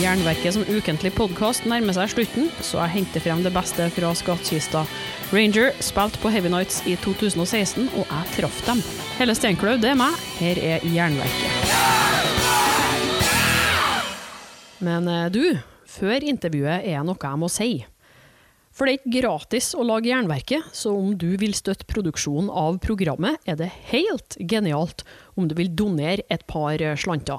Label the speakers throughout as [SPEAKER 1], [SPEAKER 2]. [SPEAKER 1] Jernverket som ukentlig podkast nærmer seg slutten, så jeg henter frem det beste fra skattkista. Ranger spilte på Heavy Nights i 2016, og jeg traff dem. Helle Steinkløv, det er meg. Her er Jernverket. Men eh, du, før intervjuet er det noe jeg må si. For det er ikke gratis å lage Jernverket, så om du vil støtte produksjonen av programmet, er det helt genialt om du vil donere et par eh, slanter.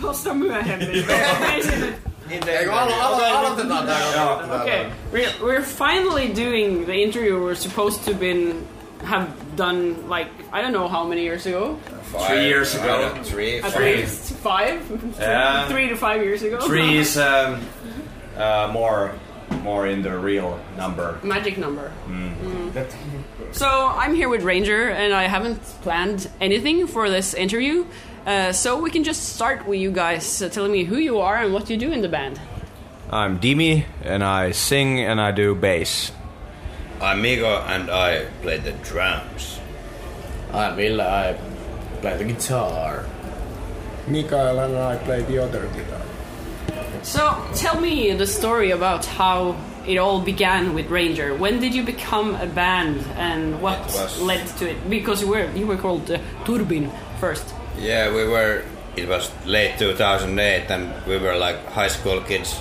[SPEAKER 2] Pasta Muhammed. Amazing. Okay, we're, we're finally doing the interview we're supposed to been have done like I don't know how many years ago.
[SPEAKER 3] Three years ago.
[SPEAKER 4] Three,
[SPEAKER 2] At
[SPEAKER 4] three.
[SPEAKER 2] least five,
[SPEAKER 3] Yeah.
[SPEAKER 2] three to five years ago.
[SPEAKER 3] Three is um, uh, more, more in the real number.
[SPEAKER 2] Magic number.
[SPEAKER 3] Mm.
[SPEAKER 2] Mm. So I'm here with Ranger, and I haven't planned anything for this interview. Uh, so we can just start with you guys uh, telling me who you are and what you do in the band.
[SPEAKER 3] I'm Dimi, and I sing and I do bass.
[SPEAKER 4] Amigo and I play the drums.
[SPEAKER 5] I'm Ville, I play the guitar.
[SPEAKER 6] Mikael and I play the other guitar.
[SPEAKER 2] So tell me the story about how it all began with Ranger. When did you become a band, and what
[SPEAKER 4] It was-
[SPEAKER 2] led to it? Because you were you were called uh, Turbin first.
[SPEAKER 4] Yeah, we were. It was late 2008, and we were like high school kids,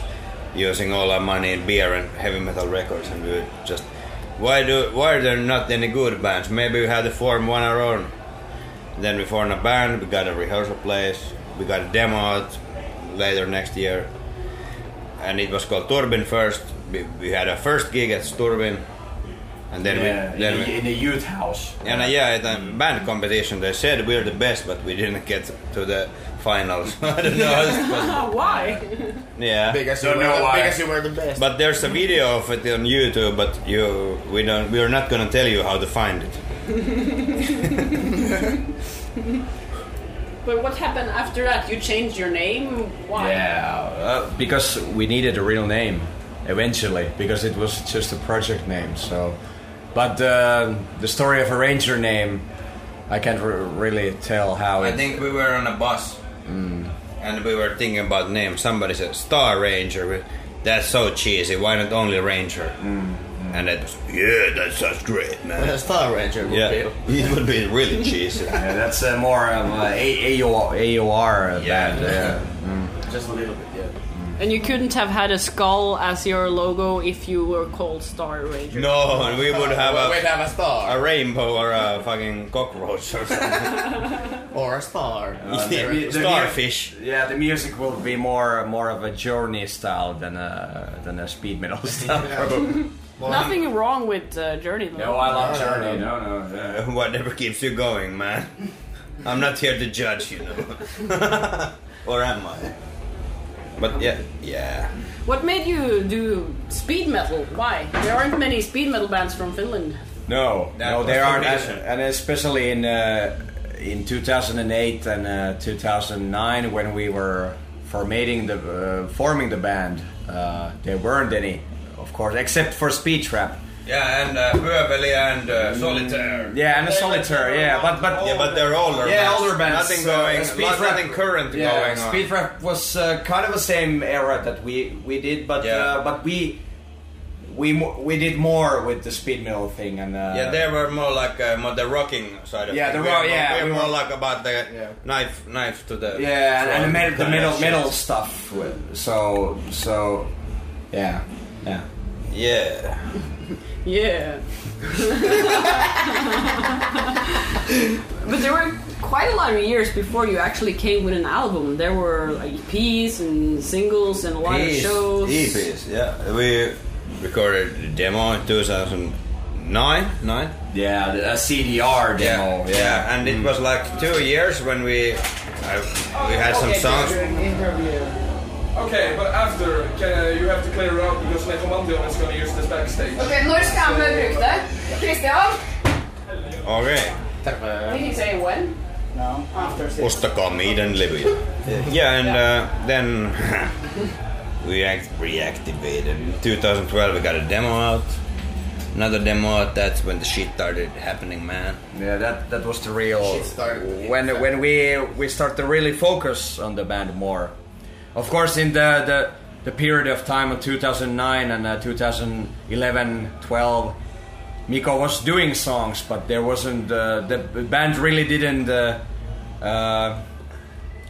[SPEAKER 4] using all our money in beer and heavy metal records, and we were just, why do why are there not any good bands? Maybe we had to form one our own. Then we formed a band. We got a rehearsal place. We got a demo out later next year, and it was called Turbin first. We, we had our first gig at Turbin, and then we then we,
[SPEAKER 3] the youth house.
[SPEAKER 4] And uh, yeah, at a band competition, they said we're the best, but we didn't get to the finals. I don't know. how this was-
[SPEAKER 2] Oh, why?
[SPEAKER 4] yeah,
[SPEAKER 6] Because
[SPEAKER 3] Don't know why.
[SPEAKER 6] you were the best.
[SPEAKER 4] but there's a video of it on YouTube, but you, we don't, we're not gonna tell you how to find it.
[SPEAKER 2] But what happened after that? You changed your name. Why?
[SPEAKER 3] Yeah, uh, because we needed a real name eventually, because it was just a project name. So, but uh, the story of a ranger name, I can't re- really tell how
[SPEAKER 4] I
[SPEAKER 3] it.
[SPEAKER 4] think we were on a bus, Mm. and we were thinking about names. Somebody said Star Ranger. We- That's so cheesy. Why not only Ranger? And it was yeah, that sounds great, man.
[SPEAKER 6] Star Ranger would
[SPEAKER 4] Yeah,
[SPEAKER 6] be-
[SPEAKER 4] it would be really cheesy.
[SPEAKER 3] Yeah, that's uh, more um, uh, A- AOR,
[SPEAKER 4] Yeah.
[SPEAKER 3] AOR band. Yeah.
[SPEAKER 6] Just a little bit, yeah.
[SPEAKER 2] And you couldn't have had a skull as your logo if you were called Star Ranger.
[SPEAKER 4] No, and we would have
[SPEAKER 6] Well,
[SPEAKER 4] a.
[SPEAKER 6] we'd have a
[SPEAKER 4] a
[SPEAKER 6] star.
[SPEAKER 4] rainbow or a fucking cockroach or something.
[SPEAKER 6] Or a star.
[SPEAKER 4] Yeah,
[SPEAKER 3] The- the
[SPEAKER 4] starfish.
[SPEAKER 3] mu- yeah, the music will be more more of a journey style than a than a speed metal style.
[SPEAKER 2] Nothing wrong with uh, Journey. though.
[SPEAKER 3] No, I love journey. No, no. yeah.
[SPEAKER 4] Whatever keeps you going, man. I'm not here to judge, you know. or am I? But yeah, yeah.
[SPEAKER 2] What made you do speed metal? Why? There aren't many speed metal bands from Finland.
[SPEAKER 3] No,
[SPEAKER 4] That
[SPEAKER 3] no,
[SPEAKER 4] was
[SPEAKER 3] there
[SPEAKER 4] the
[SPEAKER 3] aren't, and,
[SPEAKER 4] vision.
[SPEAKER 3] and especially in uh, in 2008 and uh, 2009 when we were formating the uh, forming the band, uh, there weren't any, of course, except for Speed Trap.
[SPEAKER 4] Yeah, and uh, Hueveli and uh, Solitaire.
[SPEAKER 3] Yeah, and a Solitaire. Yeah, but but
[SPEAKER 4] Yeah, but they're older.
[SPEAKER 3] Yeah,
[SPEAKER 4] bands.
[SPEAKER 3] older bands.
[SPEAKER 4] Nothing
[SPEAKER 3] Uh,
[SPEAKER 4] going.
[SPEAKER 3] Speed
[SPEAKER 4] lot-
[SPEAKER 3] Rap-
[SPEAKER 4] nothing current
[SPEAKER 3] yeah,
[SPEAKER 4] going on.
[SPEAKER 3] Speed rap was uh, kind of the same era that we we did, but
[SPEAKER 4] Yeah.
[SPEAKER 3] uh, but we we mo- we did more with the speed metal thing and uh,
[SPEAKER 4] Yeah, they were more like uh, more the rocking side of
[SPEAKER 3] Yeah,
[SPEAKER 4] it.
[SPEAKER 3] the
[SPEAKER 4] We
[SPEAKER 3] rock-
[SPEAKER 4] were more-
[SPEAKER 3] yeah,
[SPEAKER 4] we
[SPEAKER 3] we
[SPEAKER 4] were more
[SPEAKER 3] were-
[SPEAKER 4] like about the
[SPEAKER 6] Yeah.
[SPEAKER 4] knife, knife to the
[SPEAKER 3] yeah, and, and the, med- the
[SPEAKER 4] Kinda
[SPEAKER 3] metal
[SPEAKER 4] shit.
[SPEAKER 3] metal stuff. with- So so yeah yeah.
[SPEAKER 4] Yeah.
[SPEAKER 2] Yeah. but there were quite a lot of years before you actually came with an album. There were like EPs and singles and a lot
[SPEAKER 4] Peace.
[SPEAKER 2] of shows.
[SPEAKER 4] EPs, yeah. We recorded the demo in 2009, nine?
[SPEAKER 3] Yeah, Mm. the- a CDR demo.
[SPEAKER 4] yeah. And it was like two years when we I, we had some songs.
[SPEAKER 7] Okay, but after can, uh, you have to clear out because Necromandion is gonna use this backstage.
[SPEAKER 8] Ok, Når skal vi bruke det? Kristian?
[SPEAKER 4] Okay.
[SPEAKER 8] We can say when.
[SPEAKER 4] Ostakaa meidän levyjä. Yeah, and uh, then we act- reactivated. In 2012 we got a demo out. Another demo out, that's when the shit started happening, man.
[SPEAKER 3] Yeah, that that was the real
[SPEAKER 4] Shit started.
[SPEAKER 3] when when we we start to really focus on the band more. Of course, in the the, the period of time of 2009 and uh, 2011, 12, Miko was doing songs, but there wasn't uh, the band really didn't. Uh, uh,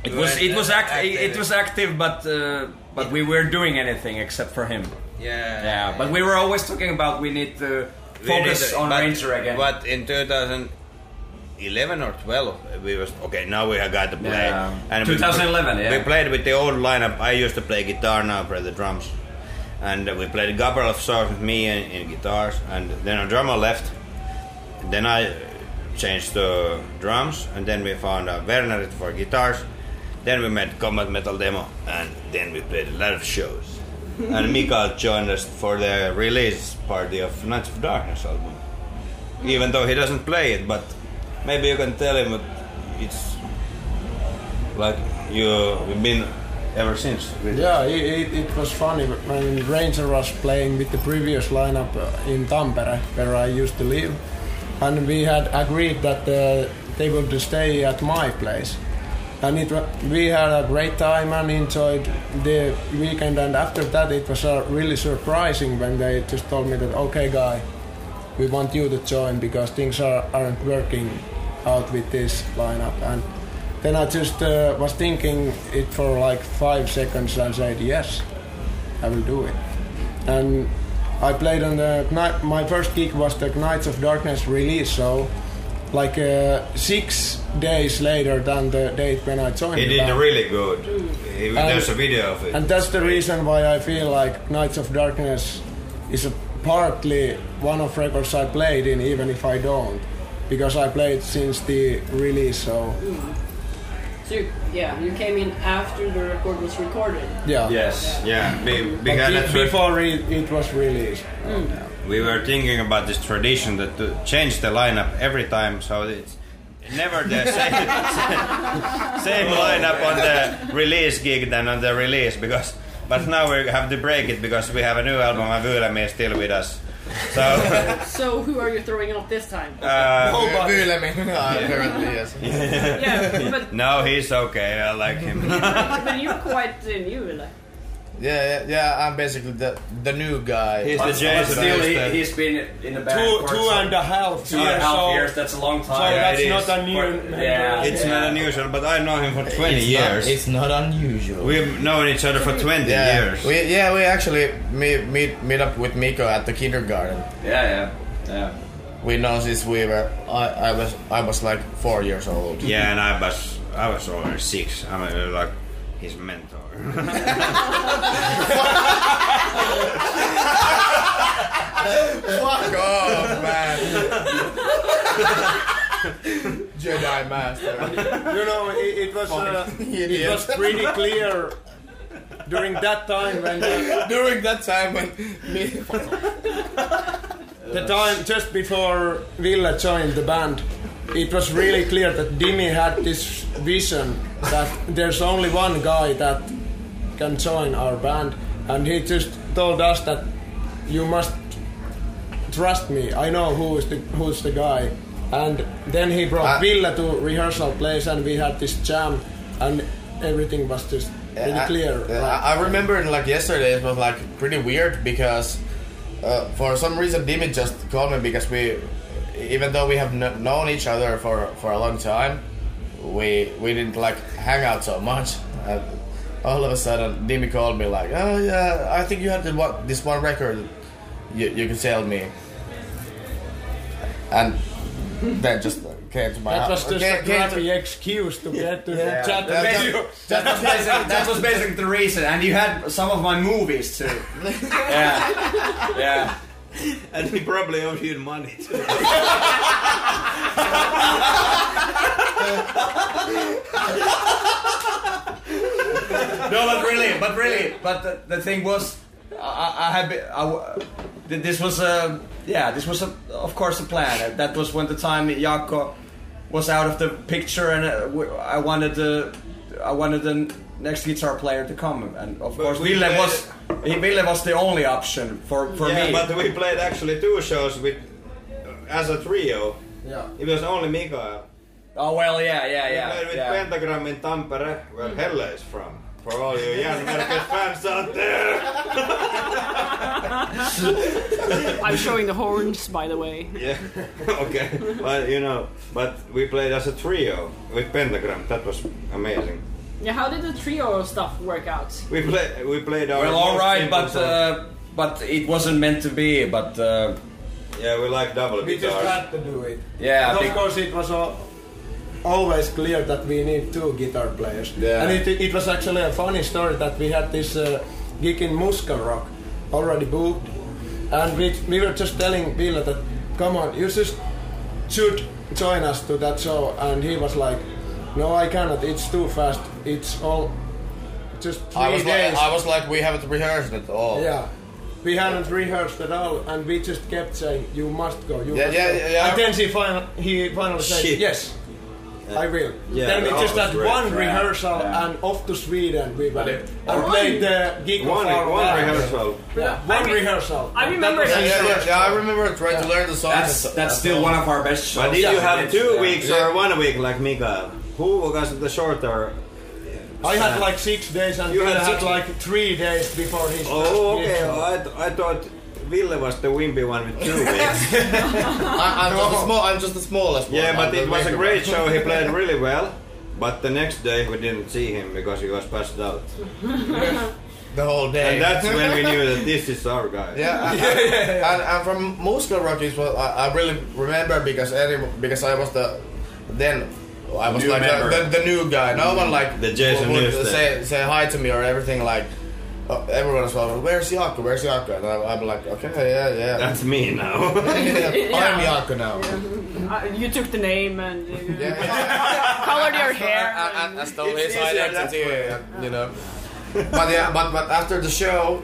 [SPEAKER 3] it was it was act, it was active, but uh, but we were doing anything except for him.
[SPEAKER 4] Yeah.
[SPEAKER 3] Yeah, but we were always talking about we need to
[SPEAKER 4] We
[SPEAKER 3] focus
[SPEAKER 4] did it,
[SPEAKER 3] on
[SPEAKER 4] but-
[SPEAKER 3] Ranger again.
[SPEAKER 4] But in 2011 or 12, we was okay. Now we have got to play.
[SPEAKER 3] Yeah.
[SPEAKER 4] we-
[SPEAKER 3] 2011,
[SPEAKER 4] We,
[SPEAKER 3] yeah.
[SPEAKER 4] played with the old lineup. I used to play guitar. Now I play the drums. And we played a couple of songs with me in, in guitars, and then a drummer left. Then I changed to drums, and then we found uh, Werner for guitars. Then we met Combat Metal Demo, and then we played a lot of shows. and Mikael joined us for the release party of Knights of Darkness album. Even though he doesn't play it, but maybe you can tell him that it's like you, you've been ever since. with-
[SPEAKER 6] Yeah, it, it, it was funny when Ranger was playing with the previous lineup uh, in Tampere, where I used to live, and we had agreed that uh, they would stay at my place. And it wa- we had a great time and enjoyed the weekend. And after that, it was uh, really surprising when they just told me that, okay, guy, we want you to join because things are, aren't working out with this lineup. And then I just uh, was thinking it for like five seconds and said, yes, I will do it. And I played on the Kni- my first gig was the Knights of Darkness release, so like uh, six days later than the date when I joined.
[SPEAKER 4] He
[SPEAKER 6] the
[SPEAKER 4] did
[SPEAKER 6] band.
[SPEAKER 4] really good. He, there's a video of it.
[SPEAKER 6] And that's the reason why I feel like Knights of Darkness is a partly one of records I played in, even if I don't, because I played since the release. So
[SPEAKER 2] So you, yeah, you came in after the record was recorded.
[SPEAKER 6] yeah,
[SPEAKER 3] yes.
[SPEAKER 4] Yeah, we, we,
[SPEAKER 6] But
[SPEAKER 4] had
[SPEAKER 6] be-
[SPEAKER 4] a tra-
[SPEAKER 6] before it, it was released.
[SPEAKER 4] we were thinking about this tradition that to change the lineup every time, so it's never the same, same lineup on the release gig than on the release because. But now we have to break it because we have a new album, and Vylämi is still with us. So
[SPEAKER 2] So who are you throwing out this time?
[SPEAKER 4] uh,
[SPEAKER 5] apparently, yes.
[SPEAKER 2] yeah, but,
[SPEAKER 4] no, he's okay. I like him.
[SPEAKER 2] but you're quite uh, new, like.
[SPEAKER 5] Yeah, yeah, yeah, I'm basically the the new guy.
[SPEAKER 4] He's the
[SPEAKER 3] But
[SPEAKER 4] Jason.
[SPEAKER 3] still,
[SPEAKER 4] is
[SPEAKER 3] he,
[SPEAKER 4] the-
[SPEAKER 3] he's been in the band
[SPEAKER 9] two
[SPEAKER 3] for
[SPEAKER 9] two
[SPEAKER 3] some-
[SPEAKER 9] and a half
[SPEAKER 3] two and a
[SPEAKER 9] years,
[SPEAKER 3] half
[SPEAKER 9] so
[SPEAKER 3] years. That's a long
[SPEAKER 9] so
[SPEAKER 3] time.
[SPEAKER 9] that's
[SPEAKER 4] it is.
[SPEAKER 9] not a new.
[SPEAKER 3] But- yeah.
[SPEAKER 9] member.
[SPEAKER 4] It's not unusual, but I know him for 20
[SPEAKER 5] It's not-
[SPEAKER 4] years.
[SPEAKER 5] it's not unusual.
[SPEAKER 4] We've known each other for 20
[SPEAKER 5] yeah,
[SPEAKER 4] years.
[SPEAKER 5] we yeah we actually meet meet meet up with Miko at the kindergarten.
[SPEAKER 3] yeah, yeah, yeah.
[SPEAKER 5] We know since we were I, I was I was like four years old.
[SPEAKER 4] Yeah, and I was I was only six. I'm uh, like his mentor.
[SPEAKER 5] Fuck off, man. Jedi Master.
[SPEAKER 6] You know, it, it was uh, it
[SPEAKER 5] Idiot.
[SPEAKER 6] was pretty clear during that time when the,
[SPEAKER 5] During that time when me,
[SPEAKER 6] the time just before Villa joined the band, it was really clear that Dimi had this vision that there's only one guy that can join our band, and he just told us that you must trust me. I know who is the who's the guy, and then he brought
[SPEAKER 5] Ah.
[SPEAKER 6] Villa to rehearsal place, and we had this jam, and everything was just pretty
[SPEAKER 5] I-
[SPEAKER 6] clear.
[SPEAKER 5] I,
[SPEAKER 6] like-
[SPEAKER 5] I remember like yesterday it was like pretty weird because uh, for some reason Dimi just called me because we, even though we have kn- known each other for, for a long time, we we didn't like hang out so much. And all of a sudden Dimi called me like, oh yeah, I think you had the, one- this one record you, you can sell me. And then just came to my
[SPEAKER 6] That was
[SPEAKER 5] house.
[SPEAKER 6] just
[SPEAKER 5] Came-
[SPEAKER 6] a
[SPEAKER 5] came to-
[SPEAKER 6] crappy excuse to get to
[SPEAKER 5] Yeah.
[SPEAKER 6] chat.
[SPEAKER 5] That-
[SPEAKER 6] with
[SPEAKER 5] that-
[SPEAKER 6] you.
[SPEAKER 5] that was basically-
[SPEAKER 3] That was basically the reason, and you had some of my movies too. yeah, yeah.
[SPEAKER 4] and he probably owed you money.
[SPEAKER 3] no, but really, but really, but the, the thing was, I, I had, been- I, w- th- this was a, yeah, this was a, of course a plan. Uh, That was when the time Jaakko was out of the picture, and uh, w- I wanted the, I wanted the next guitar player to come, and of course
[SPEAKER 4] we
[SPEAKER 3] Ville
[SPEAKER 4] played-
[SPEAKER 3] was, he- Ville was the only option for for
[SPEAKER 4] yeah,
[SPEAKER 3] me.
[SPEAKER 4] but we played actually two shows with uh, as a trio.
[SPEAKER 6] Yeah.
[SPEAKER 4] It was only Mikael.
[SPEAKER 3] oh well, yeah, yeah,
[SPEAKER 4] We
[SPEAKER 3] yeah.
[SPEAKER 4] played with
[SPEAKER 3] yeah.
[SPEAKER 4] Pentagram in Tampere, where Helle is from. For all you Jan Merkel fans out there.
[SPEAKER 2] I'm showing the horns, by the way.
[SPEAKER 4] Yeah. okay. But you know, but we played as a trio with Pentagram. That was amazing.
[SPEAKER 2] Yeah, how did the trio stuff work out?
[SPEAKER 4] We played. We played our.
[SPEAKER 3] Well, all
[SPEAKER 4] most
[SPEAKER 3] right,
[SPEAKER 4] simple
[SPEAKER 3] but
[SPEAKER 4] song.
[SPEAKER 3] uh, but it wasn't meant to be. But uh,
[SPEAKER 4] yeah, we like double
[SPEAKER 6] We just
[SPEAKER 4] guitars.
[SPEAKER 6] had to do it.
[SPEAKER 3] yeah,
[SPEAKER 6] And
[SPEAKER 3] big-
[SPEAKER 6] of course, it was al- always clear that we need two guitar players.
[SPEAKER 5] Yeah.
[SPEAKER 6] And it, it was actually a funny story that we had this uh, gig in Muscle Rock already booked, and we, we were just telling Ville that, come on, you just should join us to that show, and he was like, no, I cannot. It's too fast. It's all just three
[SPEAKER 5] I was
[SPEAKER 6] days.
[SPEAKER 5] like, I was like, we haven't rehearsed at all.
[SPEAKER 6] Yeah. We hadn't rehearsed at all, and we just kept saying, "You must go, you
[SPEAKER 5] Yeah,
[SPEAKER 6] must
[SPEAKER 5] yeah,
[SPEAKER 6] go."
[SPEAKER 5] yeah, yeah.
[SPEAKER 6] And then he final, he finally said,
[SPEAKER 4] Shit.
[SPEAKER 6] "Yes, I will."
[SPEAKER 4] Yeah,
[SPEAKER 6] then we
[SPEAKER 4] that
[SPEAKER 6] just
[SPEAKER 4] was
[SPEAKER 6] had
[SPEAKER 4] great.
[SPEAKER 6] one
[SPEAKER 4] Yeah,
[SPEAKER 6] rehearsal and off to Sweden we went
[SPEAKER 5] it-
[SPEAKER 6] and played the gig
[SPEAKER 4] One,
[SPEAKER 6] of our
[SPEAKER 4] one
[SPEAKER 6] lives.
[SPEAKER 4] rehearsal.
[SPEAKER 6] Yeah,
[SPEAKER 2] I
[SPEAKER 6] one
[SPEAKER 2] mean-
[SPEAKER 6] rehearsal.
[SPEAKER 2] I remember
[SPEAKER 6] That
[SPEAKER 5] Yeah,
[SPEAKER 6] was
[SPEAKER 5] yeah,
[SPEAKER 6] actually-
[SPEAKER 5] yeah, yeah, I remember trying to learn the songs.
[SPEAKER 3] that's
[SPEAKER 5] and-
[SPEAKER 3] that's still one of our best shows.
[SPEAKER 4] But did you
[SPEAKER 3] Yeah,
[SPEAKER 4] have
[SPEAKER 3] it's-
[SPEAKER 4] two
[SPEAKER 3] yeah.
[SPEAKER 4] weeks or one week like Mikael? Who was the shorter?
[SPEAKER 6] I had like six days, and
[SPEAKER 4] You
[SPEAKER 6] Ville
[SPEAKER 4] had
[SPEAKER 6] had
[SPEAKER 4] six-
[SPEAKER 6] like three days before his.
[SPEAKER 4] Oh,
[SPEAKER 6] his
[SPEAKER 4] okay.
[SPEAKER 6] show.
[SPEAKER 4] I, th- I thought Ville was the wimpy one with two weeks.
[SPEAKER 5] I, I'm, just the small, I'm just the smallest one.
[SPEAKER 4] yeah,
[SPEAKER 5] I'm
[SPEAKER 4] but
[SPEAKER 5] the
[SPEAKER 4] it was a
[SPEAKER 5] bigger
[SPEAKER 4] great
[SPEAKER 5] one.
[SPEAKER 4] show. He played really well. But the next day we didn't see him because he was passed out.
[SPEAKER 5] The whole day.
[SPEAKER 4] And that's when we knew that this is our guy.
[SPEAKER 5] Yeah, and, and, and from Muscle Rock is what I, I really remember because any, because I was the then I was
[SPEAKER 3] New
[SPEAKER 5] like
[SPEAKER 3] member.
[SPEAKER 5] the, the, the new guy. No one like
[SPEAKER 4] The Jason
[SPEAKER 5] would,
[SPEAKER 4] Newsted.
[SPEAKER 5] say say hi to me or everything like. Uh, everyone was like, "Where's Jaakko? Where's Jaakko?" And I, I'm like, "Okay, yeah, yeah."
[SPEAKER 4] That's me now.
[SPEAKER 5] I'm Jaakko now.
[SPEAKER 2] Uh, you took the name and you
[SPEAKER 5] Yeah.
[SPEAKER 2] colored your hair.
[SPEAKER 5] And- and- and stole his
[SPEAKER 4] It's easier
[SPEAKER 5] identity, and, you know. but yeah, but but after the show,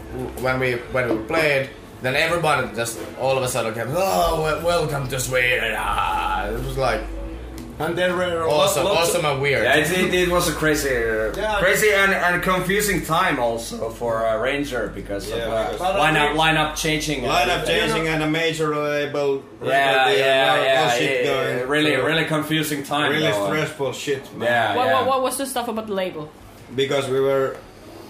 [SPEAKER 5] when we when we played, then everybody just all of a sudden came, "Oh, wel- welcome to Sweden!" Ah, it was like
[SPEAKER 6] And there were lo-
[SPEAKER 5] awesome,
[SPEAKER 6] lots
[SPEAKER 5] awesome and weird.
[SPEAKER 3] Yeah, it, it, it was a crazy, uh,
[SPEAKER 6] Yeah,
[SPEAKER 3] crazy and, and confusing time also for a ranger because
[SPEAKER 4] Yeah,
[SPEAKER 3] of
[SPEAKER 4] because-
[SPEAKER 3] uh, lineup lineup changing. and
[SPEAKER 4] Lineup changing
[SPEAKER 3] everything.
[SPEAKER 4] and a major label.
[SPEAKER 3] Yeah,
[SPEAKER 4] record
[SPEAKER 3] yeah,
[SPEAKER 4] deal,
[SPEAKER 3] yeah,
[SPEAKER 4] all
[SPEAKER 3] yeah,
[SPEAKER 4] shit
[SPEAKER 3] yeah,
[SPEAKER 4] going.
[SPEAKER 3] Really, really confusing time.
[SPEAKER 4] really
[SPEAKER 3] though. uh,
[SPEAKER 4] stressful shit. Man.
[SPEAKER 3] Yeah,
[SPEAKER 2] what,
[SPEAKER 3] yeah.
[SPEAKER 2] what, what was the stuff about the label?
[SPEAKER 4] because we were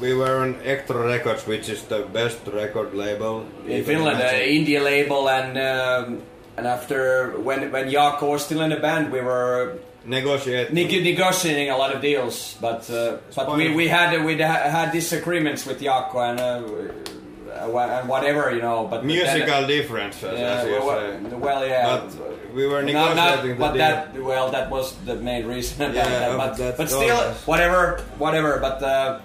[SPEAKER 4] we were on Extra Records, which is the best record label
[SPEAKER 3] in Finland, uh, indie label, and um, and after when when Jaakko was still in the band, we were
[SPEAKER 4] Negotiate.
[SPEAKER 3] neg- negotiating a lot of deals, but uh, but we, we had we ha- had disagreements with Jaakko and uh, wha- and whatever you know. But
[SPEAKER 4] musical differences,
[SPEAKER 3] then, yeah,
[SPEAKER 4] as you
[SPEAKER 3] well,
[SPEAKER 4] say.
[SPEAKER 3] well, yeah.
[SPEAKER 4] But we were
[SPEAKER 3] No, not,
[SPEAKER 4] negotiating
[SPEAKER 3] but
[SPEAKER 4] the deal.
[SPEAKER 3] that well, that was the main reason. About
[SPEAKER 4] Yeah,
[SPEAKER 3] that.
[SPEAKER 4] but
[SPEAKER 3] But,
[SPEAKER 4] that's
[SPEAKER 3] but still,
[SPEAKER 4] always-
[SPEAKER 3] whatever, whatever. But uh,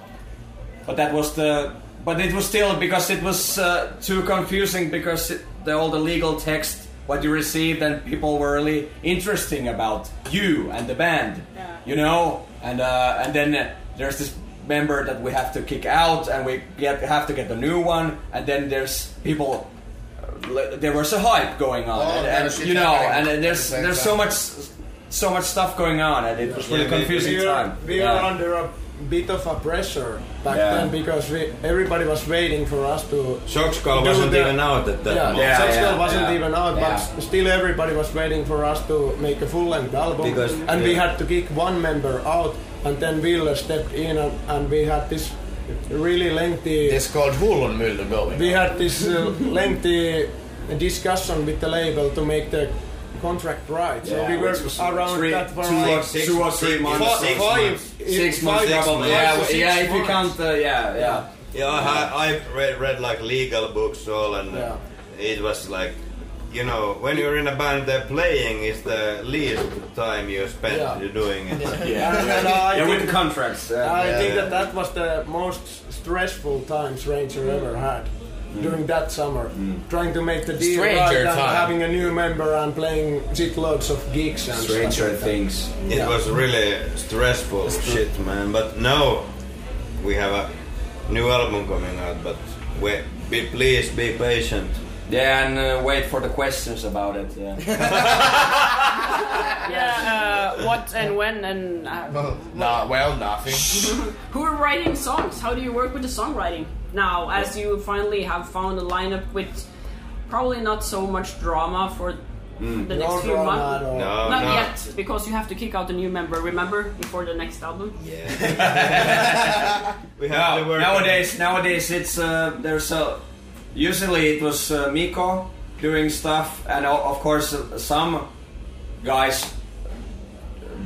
[SPEAKER 3] but that was the. But it was still because it was uh, too confusing because it, the, all the legal text what you received and people were really interesting about you and the band, you know, and uh, and then uh, there's this member that we have to kick out and we get, have to get a new one and then there's people uh, there was a hype going on
[SPEAKER 5] Oh,
[SPEAKER 3] and,
[SPEAKER 5] yeah,
[SPEAKER 3] and,
[SPEAKER 5] shit
[SPEAKER 3] you know and
[SPEAKER 5] happening at
[SPEAKER 3] there's
[SPEAKER 5] the same
[SPEAKER 3] there's
[SPEAKER 5] time.
[SPEAKER 3] so much so much stuff going on and it was really
[SPEAKER 4] Yeah, we-
[SPEAKER 3] confusing
[SPEAKER 6] we are,
[SPEAKER 3] time
[SPEAKER 6] we are
[SPEAKER 3] yeah.
[SPEAKER 6] under a bit of a pressure back
[SPEAKER 3] Yeah.
[SPEAKER 6] then because we, everybody was waiting for us to.
[SPEAKER 4] Shockskall
[SPEAKER 6] do
[SPEAKER 4] wasn't
[SPEAKER 6] the-
[SPEAKER 4] even out at that
[SPEAKER 6] yeah,
[SPEAKER 4] moment.
[SPEAKER 3] Yeah,
[SPEAKER 6] Sex
[SPEAKER 3] yeah,
[SPEAKER 6] Girl wasn't
[SPEAKER 3] yeah.
[SPEAKER 6] even out, but
[SPEAKER 3] Yeah.
[SPEAKER 6] s- still everybody was waiting for us to make a full-length album.
[SPEAKER 4] Because-
[SPEAKER 6] and we
[SPEAKER 4] yeah.
[SPEAKER 6] had to kick one member out, and then Wheeler stepped in, and, and we had this really lengthy.
[SPEAKER 5] It's called Hullun Mylly going.
[SPEAKER 6] We had this uh, lengthy discussion with the label to make the contract right. So
[SPEAKER 3] Yeah,
[SPEAKER 6] we were
[SPEAKER 3] which was
[SPEAKER 6] around
[SPEAKER 3] three-
[SPEAKER 6] that for
[SPEAKER 3] two
[SPEAKER 6] like
[SPEAKER 3] or six- two or three months,
[SPEAKER 6] Five-
[SPEAKER 4] six
[SPEAKER 6] five-
[SPEAKER 4] months.
[SPEAKER 3] six months
[SPEAKER 6] five months.
[SPEAKER 3] trouble yeah,
[SPEAKER 6] Five to
[SPEAKER 3] yeah
[SPEAKER 6] six
[SPEAKER 3] if you
[SPEAKER 6] months.
[SPEAKER 3] can't uh, yeah yeah
[SPEAKER 4] Yeah, I, I read, read like legal books all, and uh, it was like, you know, when you're in a band, they're playing is the least time you spend
[SPEAKER 6] Yeah.
[SPEAKER 4] doing it.
[SPEAKER 6] And, and
[SPEAKER 3] yeah
[SPEAKER 6] I think
[SPEAKER 3] with the contracts uh,
[SPEAKER 6] I
[SPEAKER 4] Yeah,
[SPEAKER 6] think
[SPEAKER 4] yeah. Mm.
[SPEAKER 6] that that was the most stressful times Ranger ever had. during that summer, trying to make the deal
[SPEAKER 5] Stranger
[SPEAKER 6] right and
[SPEAKER 5] time.
[SPEAKER 6] having a new member and playing shitloads of gigs and stuff
[SPEAKER 3] Stranger
[SPEAKER 6] like that.
[SPEAKER 3] Things.
[SPEAKER 4] It
[SPEAKER 6] Yeah.
[SPEAKER 4] was really stressful shit, man. But now we have a new album coming out. But we, be, please be patient.
[SPEAKER 3] Yeah, and uh, wait for the questions about it. Yeah.
[SPEAKER 2] Yeah, uh, what and when and uh,
[SPEAKER 5] Nah, well, nothing.
[SPEAKER 2] who are writing songs? How do you work with the songwriting now? As you finally have found a lineup with probably not so much drama for the next
[SPEAKER 6] No
[SPEAKER 2] few
[SPEAKER 6] drama at
[SPEAKER 2] months.
[SPEAKER 6] all.
[SPEAKER 4] No,
[SPEAKER 2] Not
[SPEAKER 4] no.
[SPEAKER 2] yet, because you have to kick out a new member. Remember before the next album.
[SPEAKER 4] We have to
[SPEAKER 3] Now,
[SPEAKER 4] work
[SPEAKER 3] nowadays, nowadays it's uh, there's a. Usually it was uh, Miko doing stuff, and o- of course uh, some guys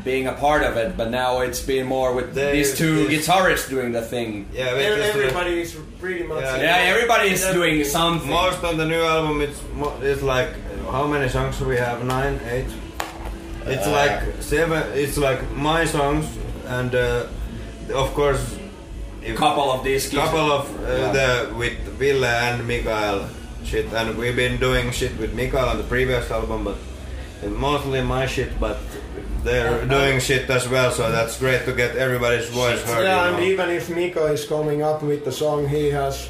[SPEAKER 3] being a part of it. But now it's been more with
[SPEAKER 4] They-
[SPEAKER 3] these two
[SPEAKER 4] they-
[SPEAKER 3] guitarists doing the thing.
[SPEAKER 4] Yeah, we
[SPEAKER 6] Ev-
[SPEAKER 4] just-
[SPEAKER 6] E-, Everybody is pretty much.
[SPEAKER 4] Yeah.
[SPEAKER 3] Yeah, everybody is doing something.
[SPEAKER 4] Most on the new album, it's mo- it's like how many songs do we have? Nine, eight. It's
[SPEAKER 5] Uh,
[SPEAKER 4] like seven. It's like my songs, and uh, of course, if-
[SPEAKER 3] couple of these kids.
[SPEAKER 4] couple of uh, the with Ville and Mikael shit, and we've been doing shit with Mikael on the previous album, but it's mostly my shit, but.
[SPEAKER 6] Uh,
[SPEAKER 4] They're doing shit as well, so that's great to get everybody's voice heard.
[SPEAKER 6] Yeah,
[SPEAKER 4] you
[SPEAKER 6] and
[SPEAKER 4] know.
[SPEAKER 6] even if Miko is coming up with the song he has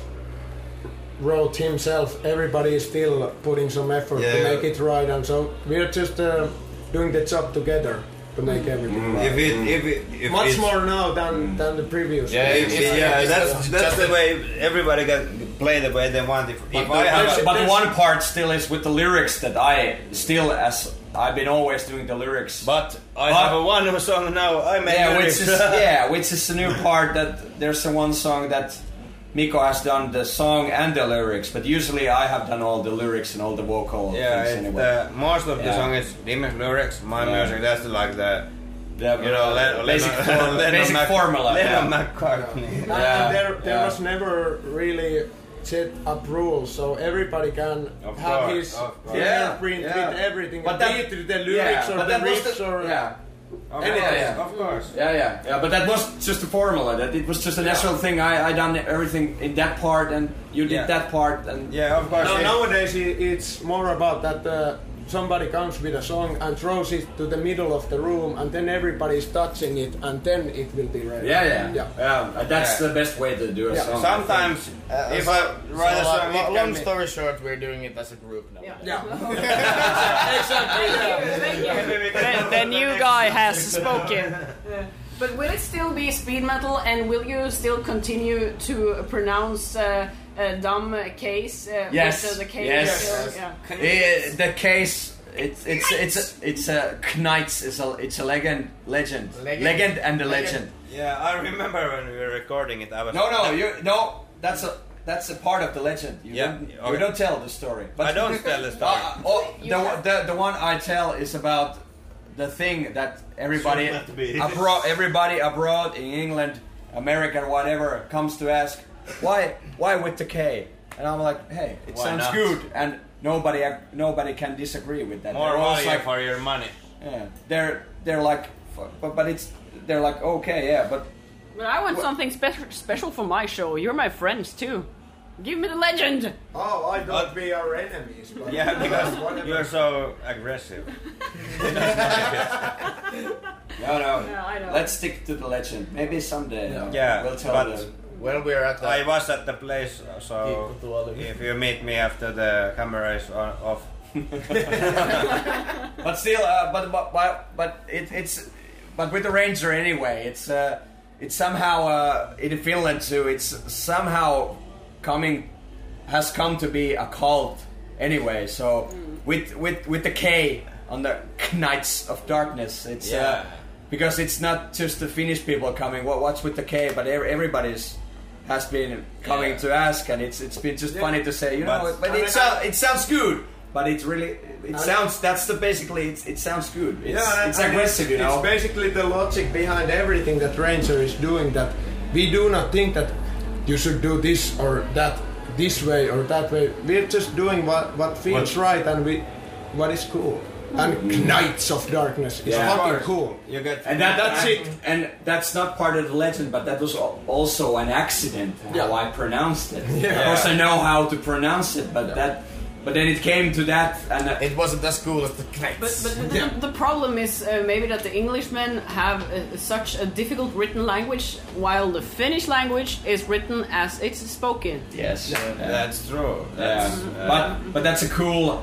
[SPEAKER 6] wrote himself, everybody is still putting some effort to
[SPEAKER 4] Yeah.
[SPEAKER 6] make it right, and so we're just uh, doing the job together to make everything right.
[SPEAKER 4] Mm. if it, if it, if
[SPEAKER 6] Much
[SPEAKER 4] it's-
[SPEAKER 6] more now than than the previous.
[SPEAKER 5] Yeah,
[SPEAKER 6] one.
[SPEAKER 5] it's-
[SPEAKER 4] Yeah, yeah, that's
[SPEAKER 5] just-
[SPEAKER 4] that's
[SPEAKER 5] just
[SPEAKER 4] the way everybody can play the way they want. If, if I have a,
[SPEAKER 3] But, but one part still is with the lyrics that I still as I've been always doing the lyrics.
[SPEAKER 4] but I
[SPEAKER 3] But-
[SPEAKER 4] have a one song now. I make
[SPEAKER 3] yeah, which
[SPEAKER 4] lyrics.
[SPEAKER 3] is yeah, which is the new part that there's the one song that Miko has done the song and the lyrics, but usually I have done all the lyrics and all the vocal
[SPEAKER 4] Yeah,
[SPEAKER 3] things
[SPEAKER 4] it,
[SPEAKER 3] anyway.
[SPEAKER 4] uh, most of the
[SPEAKER 3] Yeah.
[SPEAKER 4] song is Dimmy's lyrics, my
[SPEAKER 3] Yeah.
[SPEAKER 4] music. That's like the
[SPEAKER 3] The,
[SPEAKER 4] you know
[SPEAKER 3] uh,
[SPEAKER 4] Len-
[SPEAKER 3] basic,
[SPEAKER 4] Lennon-
[SPEAKER 3] form-
[SPEAKER 4] Lennon
[SPEAKER 3] basic
[SPEAKER 4] Mac-
[SPEAKER 3] formula.
[SPEAKER 4] Lennon
[SPEAKER 3] yeah.
[SPEAKER 4] McCartney.
[SPEAKER 6] And-
[SPEAKER 3] Yeah,
[SPEAKER 6] and there there
[SPEAKER 3] yeah.
[SPEAKER 6] was never really set up rules, so everybody can
[SPEAKER 4] Of
[SPEAKER 6] have
[SPEAKER 4] course,
[SPEAKER 6] his
[SPEAKER 4] of course.
[SPEAKER 3] Yeah,
[SPEAKER 6] fingerprint
[SPEAKER 3] yeah.
[SPEAKER 6] with everything,
[SPEAKER 3] But
[SPEAKER 6] be
[SPEAKER 3] that-
[SPEAKER 6] it the lyrics
[SPEAKER 3] yeah,
[SPEAKER 6] or
[SPEAKER 3] but
[SPEAKER 6] the
[SPEAKER 3] that was
[SPEAKER 6] riffs
[SPEAKER 3] the-
[SPEAKER 6] or uh,
[SPEAKER 3] yeah.
[SPEAKER 4] Of
[SPEAKER 3] Anything.
[SPEAKER 4] course, of course.
[SPEAKER 3] Yeah, yeah, yeah. But that was just a formula. That it was just a natural thing. I I done everything in that part, and you did
[SPEAKER 4] Yeah.
[SPEAKER 3] that part, and
[SPEAKER 4] Yeah, of course.
[SPEAKER 6] Now,
[SPEAKER 4] it-
[SPEAKER 6] nowadays, i- it's more about that uh, somebody comes with a song and throws it to the middle of the room, and then everybody's touching it, and then it will be ready.
[SPEAKER 3] yeah, yeah,
[SPEAKER 6] yeah.
[SPEAKER 3] yeah. Uh, That's
[SPEAKER 4] Yeah.
[SPEAKER 3] the best way to do a
[SPEAKER 6] Yeah.
[SPEAKER 3] song. I think.
[SPEAKER 4] Sometimes, if
[SPEAKER 5] so-
[SPEAKER 4] I
[SPEAKER 5] so,
[SPEAKER 4] write a
[SPEAKER 5] like,
[SPEAKER 4] song,
[SPEAKER 5] lo-
[SPEAKER 4] it
[SPEAKER 5] long
[SPEAKER 4] can be-
[SPEAKER 5] story short, we're doing it as a group now.
[SPEAKER 6] exactly.
[SPEAKER 2] The, the new guy has spoken.
[SPEAKER 8] But will it still be speed metal and will you still continue to pronounce uh, uh, dumb case? Uh,
[SPEAKER 3] Yes.
[SPEAKER 8] with, uh, the case
[SPEAKER 3] Yes.
[SPEAKER 8] still- yeah.
[SPEAKER 3] Eh, the case it's it's it's it's a Knights is a it's a legend legend
[SPEAKER 5] Legend.
[SPEAKER 3] legend and a legend.
[SPEAKER 5] Legend.
[SPEAKER 4] yeah, I remember when we were recording it. I was
[SPEAKER 3] No, no, you no. That's a that's a part of the legend. You
[SPEAKER 4] Yeah,
[SPEAKER 3] don't, you
[SPEAKER 4] okay.
[SPEAKER 3] don't tell the story.
[SPEAKER 4] I don't tell the story.
[SPEAKER 3] Uh, oh,
[SPEAKER 8] You
[SPEAKER 3] the,
[SPEAKER 8] have-
[SPEAKER 3] the the one I tell is about the thing that everybody
[SPEAKER 4] Should not be.
[SPEAKER 3] abroad everybody abroad in England, America, whatever comes to ask why why with the K? And I'm like, hey, it
[SPEAKER 4] Why
[SPEAKER 3] sounds
[SPEAKER 4] not?
[SPEAKER 3] good, and nobody nobody can disagree with that.
[SPEAKER 4] More
[SPEAKER 3] They're all
[SPEAKER 4] value
[SPEAKER 3] like-
[SPEAKER 4] for your money.
[SPEAKER 3] yeah, they're they're like, "Fuck," but but it's they're like okay, yeah, but
[SPEAKER 2] But I want something spe- special for my show. You're my friends too. Give me the legend.
[SPEAKER 6] Oh, I don't be our enemies. But
[SPEAKER 4] Yeah, because you're so aggressive.
[SPEAKER 3] no, no,
[SPEAKER 2] Yeah, I know.
[SPEAKER 3] let's stick to the legend. Maybe someday, uh,
[SPEAKER 4] Yeah,
[SPEAKER 3] we'll tell
[SPEAKER 4] but-
[SPEAKER 3] them.
[SPEAKER 5] When we're at the
[SPEAKER 4] I was at the place, uh, so if you meet me after the camera is on, off,
[SPEAKER 3] But still, uh, but but but, but it, it's but with the ranger anyway, it's uh, it's somehow uh, in Finland too. It's somehow coming has come to be a cult anyway. So
[SPEAKER 6] Hmm.
[SPEAKER 3] with with with the K on the Knights of Darkness, it's uh,
[SPEAKER 4] Yeah.
[SPEAKER 3] because it's not just the Finnish people coming. What what's with the K? But ev- everybody's has been coming to ask, and it's it's been just funny to say. You
[SPEAKER 4] But-
[SPEAKER 3] know, but
[SPEAKER 6] I mean,
[SPEAKER 3] it, sou- it sounds good. But it's really it sounds that's the basically it's, it sounds good. It's,
[SPEAKER 6] and-
[SPEAKER 3] it's
[SPEAKER 6] and
[SPEAKER 3] aggressive, you know.
[SPEAKER 6] It's basically the logic behind everything that Ranger is doing. That we do not think that you should do this or that this way or that way. We're just doing what what feels right and we what is cool. and Knights of Darkness. It's
[SPEAKER 3] Yeah.
[SPEAKER 6] fucking cool.
[SPEAKER 4] You get
[SPEAKER 3] And that,
[SPEAKER 6] That's
[SPEAKER 3] and,
[SPEAKER 6] it.
[SPEAKER 3] And that's not part of the legend, but that was al- also an accident how I pronounced it. Of course, I know how to pronounce it, but that. But then it came to that, and uh,
[SPEAKER 5] It wasn't as cool as the Knights.
[SPEAKER 8] But, but the, the problem is uh, maybe that the Englishmen have uh, such a difficult written language, while the Finnish language is written as it's spoken.
[SPEAKER 3] yes,
[SPEAKER 4] That's true.
[SPEAKER 3] yeah.
[SPEAKER 4] That's, uh,
[SPEAKER 3] but but that's a cool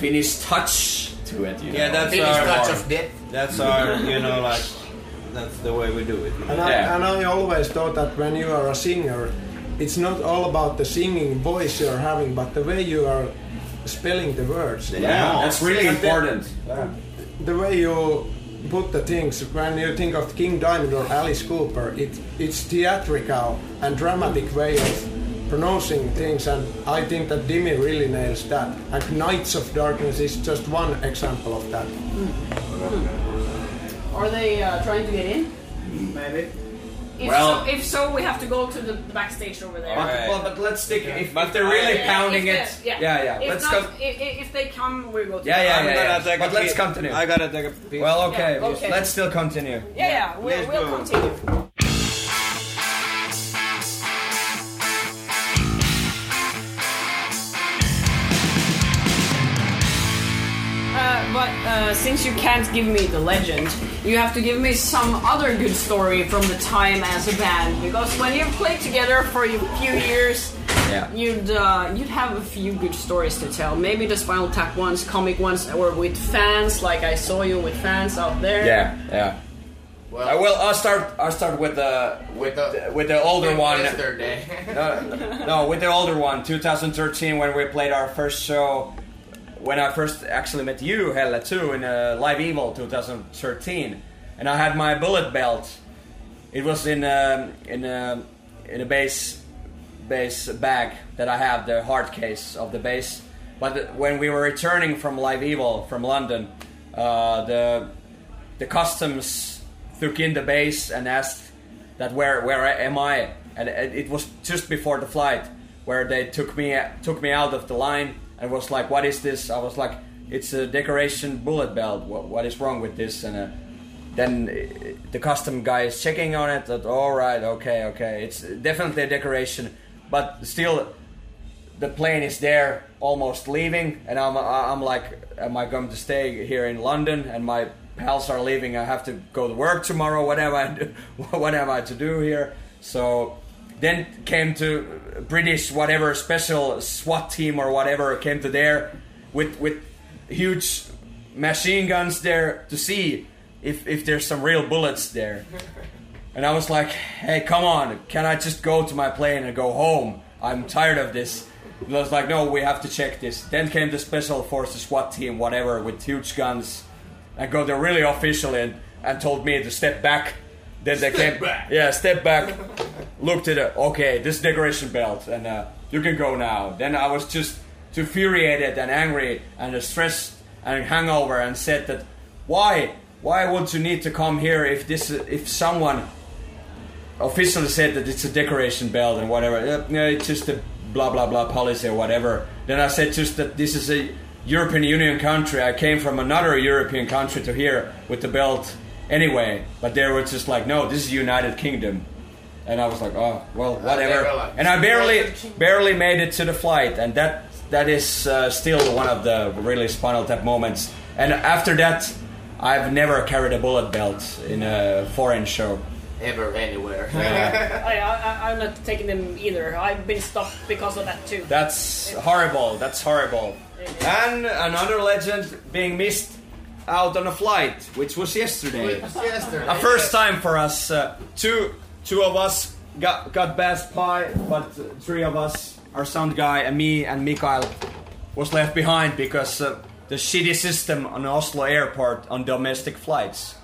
[SPEAKER 3] Finnish touch to it. You
[SPEAKER 4] Yeah,
[SPEAKER 3] know?
[SPEAKER 4] that's
[SPEAKER 5] Finish
[SPEAKER 4] our
[SPEAKER 5] touch of death.
[SPEAKER 4] That's our, you know, like, that's the way we do it.
[SPEAKER 6] And, I,
[SPEAKER 3] Yeah.
[SPEAKER 6] and I always thought that when you are a singer, it's not all about the singing voice you're having, but the way you are spelling the words.
[SPEAKER 3] yeah, that's really
[SPEAKER 6] And the-
[SPEAKER 3] important.
[SPEAKER 6] The way you put the things, when you think of King Diamond or Alice Cooper, it, it's theatrical and dramatic way of pronouncing things, and I think that Dimi really nails that. And Knights of Darkness is just one example of that.
[SPEAKER 8] Are they uh, trying to get in?
[SPEAKER 3] Maybe.
[SPEAKER 8] If,
[SPEAKER 3] Well-
[SPEAKER 8] so, if so, we have to go to the backstage over there.
[SPEAKER 3] But,
[SPEAKER 4] Alright.
[SPEAKER 3] well, but let's stick. If,
[SPEAKER 4] But
[SPEAKER 3] if they're really
[SPEAKER 8] Yeah,
[SPEAKER 3] pounding
[SPEAKER 8] if
[SPEAKER 3] it,
[SPEAKER 8] they-
[SPEAKER 3] yeah, yeah.
[SPEAKER 8] If
[SPEAKER 3] let's
[SPEAKER 8] not,
[SPEAKER 3] go.
[SPEAKER 8] i- i- if they come, we go to
[SPEAKER 3] Yeah, yeah,
[SPEAKER 4] I'm
[SPEAKER 3] yeah.
[SPEAKER 4] gonna
[SPEAKER 3] yeah.
[SPEAKER 4] take a
[SPEAKER 3] But let's
[SPEAKER 4] pee.
[SPEAKER 3] continue.
[SPEAKER 4] I gotta take a pee.
[SPEAKER 3] Well, okay,
[SPEAKER 8] Yeah, okay.
[SPEAKER 3] Let's still continue.
[SPEAKER 8] Yeah, yeah, we'll,
[SPEAKER 4] Let's
[SPEAKER 8] we'll
[SPEAKER 4] go.
[SPEAKER 8] continue. Uh, but uh, since you can't give me the legend, you have to give me some other good story from the time as a band. Because when you've played together for a few years,
[SPEAKER 3] Yeah.
[SPEAKER 8] you'd uh, you'd have a few good stories to tell. Maybe the Spinal Tap ones, comic ones, or with fans. Like I saw you with fans out there.
[SPEAKER 3] Yeah, yeah.
[SPEAKER 5] Well,
[SPEAKER 3] Uh, well, I'll start. I'll start with the with the with the older one.
[SPEAKER 5] Yesterday.
[SPEAKER 3] No, no, with the older one, 2013, when we played our first show. When I first actually met you, Hella, too, in uh, Live Evil 2013, and I had my bullet belt. It was in um in um in a base base bag that I have, the hard case of the base. But when we were returning from Live Evil from London, uh, the the customs took in the base and asked that where where am I? And it it was just before the flight where they took me took me out of the line and was like, "What is this?" I was like, "It's a decoration bullet belt. What, what is wrong with this?" And uh, then uh, the custom guy is checking on it. That all right, okay, okay. It's definitely a decoration, but still the plane is there almost leaving and I'm, I'm like am i going to stay here in london and my pals are leaving i have to go to work tomorrow what am i what am i to do here so then came to british whatever special swat team or whatever came to there with with huge machine guns there to see if if there's some real bullets there and I was like, hey, come on, can I just go to my plane and go home? I'm tired of this. And I was like, no, we have to check this. Then came the special forces SWAT team, whatever, with huge guns. And go there really officially and, and told me to step back. Then they came, yeah, step back. Looked at it, okay, this decoration belt, and uh, you can go now. Then I was just too infuriated and angry and stressed and hangover and said that why why would you need to come here if this if someone officially said that it's a decoration belt and whatever Uh, no, it's just a blah blah blah policy or whatever then i said just that this is a european union country i came from another european country to here with the belt anyway but they were just like no this is united kingdom and i was like oh well whatever
[SPEAKER 5] were like,
[SPEAKER 3] and i barely barely made it to the flight and that that is uh, still one of the really spinal tap moments and after that i've never carried a bullet belt in a foreign show
[SPEAKER 5] Ever, anywhere.
[SPEAKER 8] I, I, I'm not taking them either. I've been stopped because of that too.
[SPEAKER 3] That's horrible. That's horrible. And another legend being missed out on a flight, which was yesterday.
[SPEAKER 5] yesterday.
[SPEAKER 3] A first time for us. Uh, two two of us got got passed by, but uh, three of us, our sound guy and me and Mikael, was left behind because uh, the shitty system on Oslo airport on domestic flights.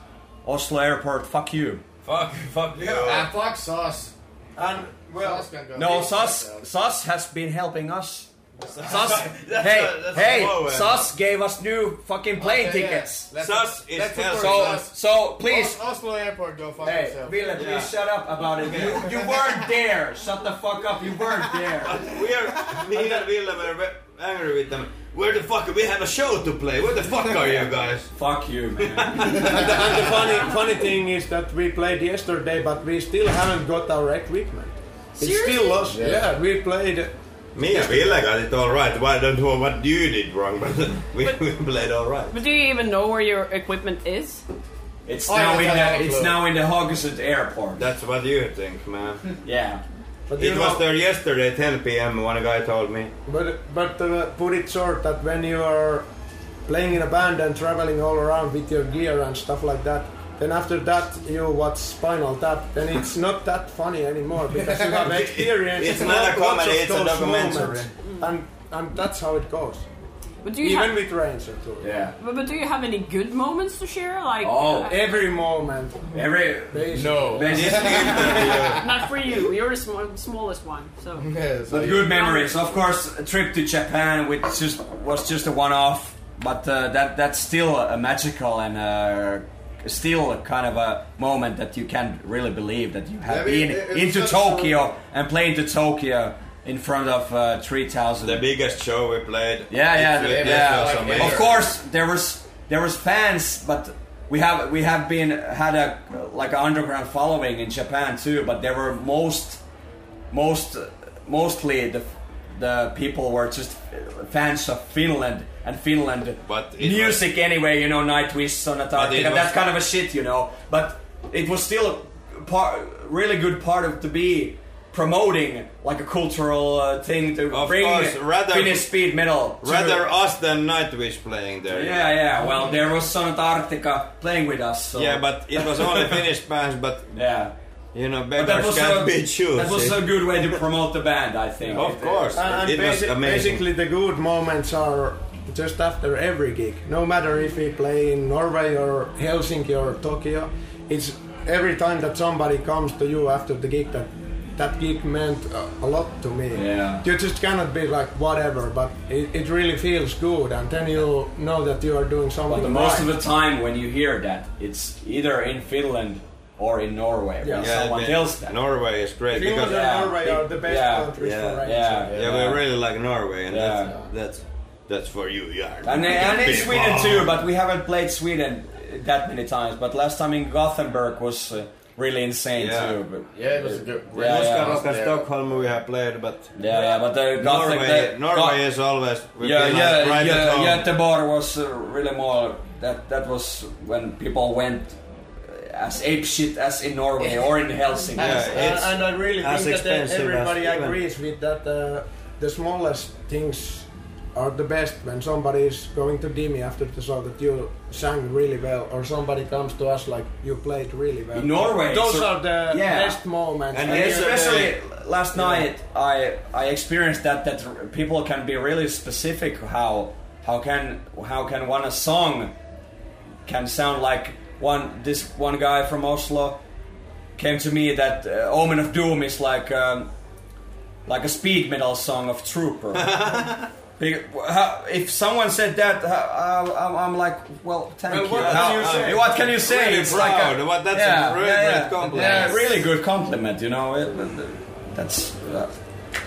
[SPEAKER 3] Oslo airport, fuck you.
[SPEAKER 4] Fuck, fuck you.
[SPEAKER 5] Ah, fuck sauce.
[SPEAKER 6] And well,
[SPEAKER 5] Sauce can go.
[SPEAKER 3] No, SAS SAS has been helping us Sus,
[SPEAKER 5] That's
[SPEAKER 3] hey,
[SPEAKER 5] a- that's a
[SPEAKER 3] hey,
[SPEAKER 5] low end.
[SPEAKER 3] Sus gave us new fucking plane
[SPEAKER 5] Okay, yeah.
[SPEAKER 3] tickets.
[SPEAKER 5] Let's-
[SPEAKER 4] Sus is
[SPEAKER 5] let's
[SPEAKER 4] hell.
[SPEAKER 5] support
[SPEAKER 3] So,
[SPEAKER 5] Sus.
[SPEAKER 3] so please,
[SPEAKER 5] Os- Oslo Airport, go fuck
[SPEAKER 3] hey,
[SPEAKER 5] yourself.
[SPEAKER 3] Ville, please
[SPEAKER 4] Yeah.
[SPEAKER 3] shut up about it. You, you weren't there. Shut the fuck up. You weren't there.
[SPEAKER 4] we are me and Ville were ve- angry with them. Where the fuck we have a show to play? Where the fuck are you guys?
[SPEAKER 3] fuck you,
[SPEAKER 5] Oh,
[SPEAKER 3] man.
[SPEAKER 6] And, and the funny, funny thing is that we played yesterday, but we still haven't got our equipment. It's still lost. Yeah, we played.
[SPEAKER 4] Me and Ville got it all right. Why don't know what you did wrong, but we, we played all right.
[SPEAKER 2] But do you even know where your equipment is?
[SPEAKER 3] It's
[SPEAKER 5] I
[SPEAKER 3] now
[SPEAKER 5] don't
[SPEAKER 3] in
[SPEAKER 5] have a
[SPEAKER 3] the it's
[SPEAKER 5] clue.
[SPEAKER 3] now in the Haugesund airport.
[SPEAKER 4] That's what you think, man.
[SPEAKER 3] yeah.
[SPEAKER 6] But you
[SPEAKER 4] It
[SPEAKER 6] know-
[SPEAKER 4] was there yesterday, 10 p.m. One guy told me.
[SPEAKER 6] But but uh, put it short that when you are playing in a band and traveling all around with your gear and stuff like that, then after that you watch Spinal Tap, then it's not that funny anymore because you have experienced.
[SPEAKER 4] It's not a
[SPEAKER 6] lots of
[SPEAKER 4] comedy, it's a
[SPEAKER 6] those
[SPEAKER 4] documentary.
[SPEAKER 6] moments. And and that's how it goes.
[SPEAKER 2] But do you
[SPEAKER 6] Even
[SPEAKER 2] have,
[SPEAKER 6] with Ranger too.
[SPEAKER 3] Yeah.
[SPEAKER 2] but, but do you have any good moments to share? Like
[SPEAKER 3] Oh,
[SPEAKER 2] uh,
[SPEAKER 6] Every moment.
[SPEAKER 3] Every
[SPEAKER 6] Basically.
[SPEAKER 5] No.
[SPEAKER 2] uh, not for you. You're the sm- smallest one. So
[SPEAKER 5] Yes.
[SPEAKER 3] But good memories. Of course, a trip to Japan which just, was just a one-off, but uh, that that's still a magical and uh, still a kind of a moment that you can't really believe that you have
[SPEAKER 5] Yeah, I mean,
[SPEAKER 3] been
[SPEAKER 5] it- it's
[SPEAKER 3] into
[SPEAKER 5] just-
[SPEAKER 3] Tokyo and playing to Tokyo in front of uh, three thousand.
[SPEAKER 4] The biggest show we played.
[SPEAKER 3] Yeah, yeah,
[SPEAKER 4] It-
[SPEAKER 3] the-
[SPEAKER 4] it
[SPEAKER 3] yeah.
[SPEAKER 4] was
[SPEAKER 5] Like
[SPEAKER 4] amazing.
[SPEAKER 3] Of course, there was there was fans, but we have we have been had a like an underground following in Japan too. But there were most most mostly the the people were just fans of Finland and Finland
[SPEAKER 4] But it
[SPEAKER 3] music anyway. You know, Nightwish, Sonata,
[SPEAKER 4] But it
[SPEAKER 3] Arctica, that
[SPEAKER 4] was-
[SPEAKER 3] kind of a shit. You know, but it was still a part, really good part of to be. Promoting like a cultural uh, thing to
[SPEAKER 4] Of
[SPEAKER 3] bring
[SPEAKER 4] course, rather-
[SPEAKER 3] Finnish speed metal. to-
[SPEAKER 4] Rather us than Nightwish playing there.
[SPEAKER 3] yeah, yeah. Well, there was Sonata Arctica playing with us. So.
[SPEAKER 4] Yeah, but it was only Finnish bands, but
[SPEAKER 3] yeah.
[SPEAKER 4] you know,
[SPEAKER 3] But that
[SPEAKER 4] beggars
[SPEAKER 3] was
[SPEAKER 4] can't
[SPEAKER 3] a,
[SPEAKER 4] be choosy.
[SPEAKER 3] that was a good way to promote the band, I think.
[SPEAKER 4] of course,
[SPEAKER 6] Uh, And, and
[SPEAKER 4] it was
[SPEAKER 6] basi-
[SPEAKER 4] amazing.
[SPEAKER 6] basically, the good moments are just after every gig. No matter if we play in Norway or Helsinki or Tokyo, it's every time that somebody comes to you after the gig that that gig meant a, a lot to me.
[SPEAKER 3] Yeah.
[SPEAKER 6] You just cannot be like whatever, but it, it really feels good, and then you know that you are doing something.
[SPEAKER 3] But the most of
[SPEAKER 6] right.
[SPEAKER 3] the time when you hear that, it's either in Finland or in Norway when
[SPEAKER 6] Yeah.
[SPEAKER 3] someone
[SPEAKER 4] but
[SPEAKER 3] tells that.
[SPEAKER 4] Norway is great
[SPEAKER 6] Finland
[SPEAKER 4] because
[SPEAKER 6] and
[SPEAKER 4] yeah,
[SPEAKER 3] Yeah,
[SPEAKER 6] Norway are the best
[SPEAKER 3] yeah,
[SPEAKER 6] countries for
[SPEAKER 4] yeah,
[SPEAKER 6] Ranger.
[SPEAKER 3] yeah.
[SPEAKER 4] we really like Norway, and
[SPEAKER 3] Yeah.
[SPEAKER 4] that's, that's that's for you, yeah.
[SPEAKER 3] And, and in Sweden too, but we haven't played Sweden that many times. But last time in Gothenburg was uh, really insane
[SPEAKER 4] Yeah.
[SPEAKER 3] too. But
[SPEAKER 5] Yeah, it was a good. great-
[SPEAKER 3] Yeah, yeah.
[SPEAKER 4] Oscar, Stockholm we have played, but
[SPEAKER 3] yeah, yeah, but the Gothenburg,
[SPEAKER 4] Norway,
[SPEAKER 3] the-
[SPEAKER 4] Norway is always we
[SPEAKER 3] yeah,
[SPEAKER 4] feel like
[SPEAKER 3] yeah,
[SPEAKER 4] right at
[SPEAKER 3] yeah,
[SPEAKER 4] home.
[SPEAKER 3] yeah. The bar was uh, really more that that was when people went uh, as ape shit as in Norway or in Helsinki.
[SPEAKER 4] Yeah.
[SPEAKER 6] and,
[SPEAKER 4] It's
[SPEAKER 6] and I really
[SPEAKER 4] as
[SPEAKER 6] think that uh,
[SPEAKER 4] expensive as
[SPEAKER 6] everybody
[SPEAKER 4] even.
[SPEAKER 6] agrees with that. Uh, the smallest things are the best when somebody is going to Dimi after the show that you sang really well, or somebody comes to us like you played really well.
[SPEAKER 3] In Norway,
[SPEAKER 6] those
[SPEAKER 3] so-
[SPEAKER 6] are the
[SPEAKER 3] yeah.
[SPEAKER 6] best moments.
[SPEAKER 4] And
[SPEAKER 3] And
[SPEAKER 4] yes,
[SPEAKER 6] you-
[SPEAKER 3] especially last night, I I experienced that that r- people can be really specific how how can how can one a song can sound like one this one guy from Oslo came to me that uh, Omen of Doom is like um, like a speed metal song of Trooper. Be- how- If someone said that, how- how- I'm- I'm like, well, thank
[SPEAKER 4] Well,
[SPEAKER 3] you.
[SPEAKER 4] what can
[SPEAKER 3] How-
[SPEAKER 4] you say?
[SPEAKER 3] uh, What can you say?
[SPEAKER 4] Really
[SPEAKER 3] it's like
[SPEAKER 4] proud.
[SPEAKER 3] a,
[SPEAKER 4] What- that's a really great compliment.
[SPEAKER 3] Yeah, really good compliment. You know, It- it- that's that,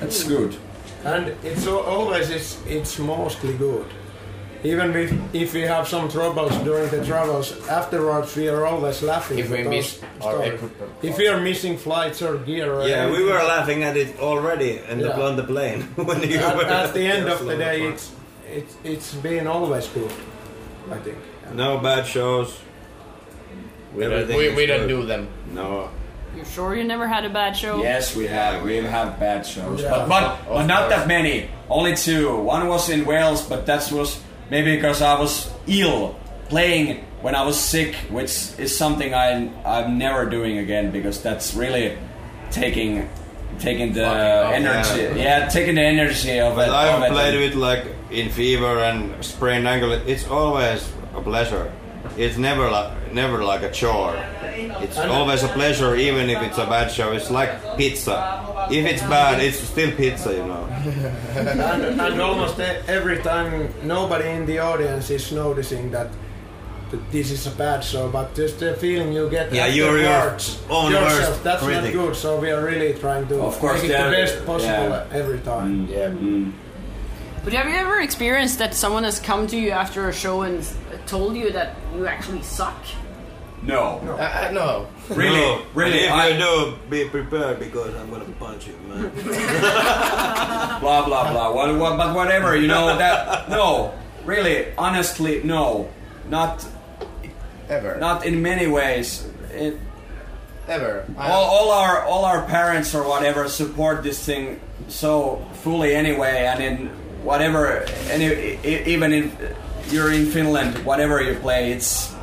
[SPEAKER 3] that's good.
[SPEAKER 6] and it's al- always it's, it's mostly good. Even if, if we have some troubles during the travels, afterwards we are always laughing.
[SPEAKER 5] If we
[SPEAKER 6] at those
[SPEAKER 5] miss our
[SPEAKER 6] stories.
[SPEAKER 5] equipment.
[SPEAKER 6] if we are missing flights or gear, or
[SPEAKER 4] Yeah, we
[SPEAKER 6] anything,
[SPEAKER 4] were laughing at it already and
[SPEAKER 6] Yeah.
[SPEAKER 4] on the plane when you
[SPEAKER 6] at,
[SPEAKER 4] were
[SPEAKER 6] at the end of
[SPEAKER 4] Oslo
[SPEAKER 6] the day,
[SPEAKER 4] before.
[SPEAKER 6] it's, it's it's been always good, I think.
[SPEAKER 4] no bad shows.
[SPEAKER 5] We,
[SPEAKER 4] Everything
[SPEAKER 5] we,
[SPEAKER 4] is
[SPEAKER 5] we
[SPEAKER 4] good.
[SPEAKER 5] don't do them.
[SPEAKER 4] no.
[SPEAKER 2] you're sure you never had a bad show?
[SPEAKER 3] Yes, we have we have bad shows,
[SPEAKER 6] Yeah.
[SPEAKER 3] but but, but not that many. Only two. One was in Wales, but that was maybe because I was ill playing when I was sick, which is something I I'm never doing again because that's really taking taking the
[SPEAKER 5] Fucking
[SPEAKER 4] hell.
[SPEAKER 3] energy. Yeah. taking the energy of
[SPEAKER 4] But
[SPEAKER 3] it. of
[SPEAKER 4] I've
[SPEAKER 3] it.
[SPEAKER 4] played with like in fever and sprained ankle. It's always a pleasure. It's never like never like a chore. It's always a pleasure, even if it's a bad show. It's like pizza. If it's bad, it's still pizza, you know.
[SPEAKER 6] and, and almost e- every time nobody in the audience is noticing that that this is a bad show, but just the feeling you get
[SPEAKER 4] Yeah,
[SPEAKER 6] after
[SPEAKER 4] you're your
[SPEAKER 6] words
[SPEAKER 4] own
[SPEAKER 6] yourself,
[SPEAKER 4] worst
[SPEAKER 6] that's
[SPEAKER 4] critic.
[SPEAKER 6] not good. So we are really trying to
[SPEAKER 3] Of course,
[SPEAKER 6] make it the
[SPEAKER 3] they're-
[SPEAKER 6] best possible
[SPEAKER 3] yeah.
[SPEAKER 6] every time.
[SPEAKER 3] Yeah.
[SPEAKER 2] But have you ever experienced that someone has come to you after a show and s- told you that you actually suck?
[SPEAKER 3] No.
[SPEAKER 5] Uh, uh, no.
[SPEAKER 3] Really,
[SPEAKER 4] No,
[SPEAKER 3] really,
[SPEAKER 4] If you
[SPEAKER 3] I-
[SPEAKER 4] do, be prepared because I'm gonna punch you, man.
[SPEAKER 3] blah blah blah. What, what, but whatever, you know that. No, really, honestly, no, not
[SPEAKER 5] Ever.
[SPEAKER 3] not in many ways. It,
[SPEAKER 5] Ever. I-
[SPEAKER 3] all, all our all our parents or whatever support this thing so fully anyway, and in whatever, and e- e- even if you're in Finland, whatever you play, it's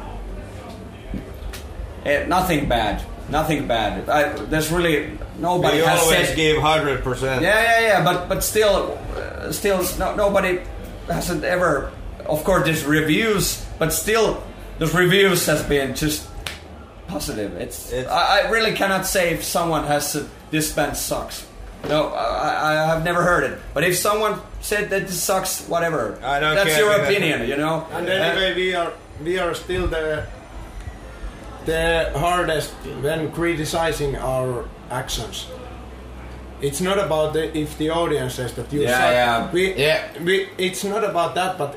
[SPEAKER 3] eh, nothing bad. Nothing bad. I, there's really nobody
[SPEAKER 4] you
[SPEAKER 3] has
[SPEAKER 4] always
[SPEAKER 3] said
[SPEAKER 4] give hundred percent.
[SPEAKER 3] yeah, yeah, yeah. But but still, uh, still, no, nobody hasn't ever. Of course, there's reviews, but still, those reviews has been just positive. It's,
[SPEAKER 4] It's-
[SPEAKER 3] I, I really cannot say if someone has said this band sucks. No, I, I I have never heard it. But if someone said that this sucks, whatever.
[SPEAKER 4] I don't
[SPEAKER 3] That's
[SPEAKER 4] care
[SPEAKER 3] your
[SPEAKER 4] if it-
[SPEAKER 3] opinion, you know. Uh,
[SPEAKER 6] And anyway, we are we are still the the hardest when criticizing our actions. It's not about the, if the audience says that you
[SPEAKER 3] Yeah,
[SPEAKER 6] suck.
[SPEAKER 3] yeah.
[SPEAKER 6] We,
[SPEAKER 5] Yeah.
[SPEAKER 6] we, it's not about that, but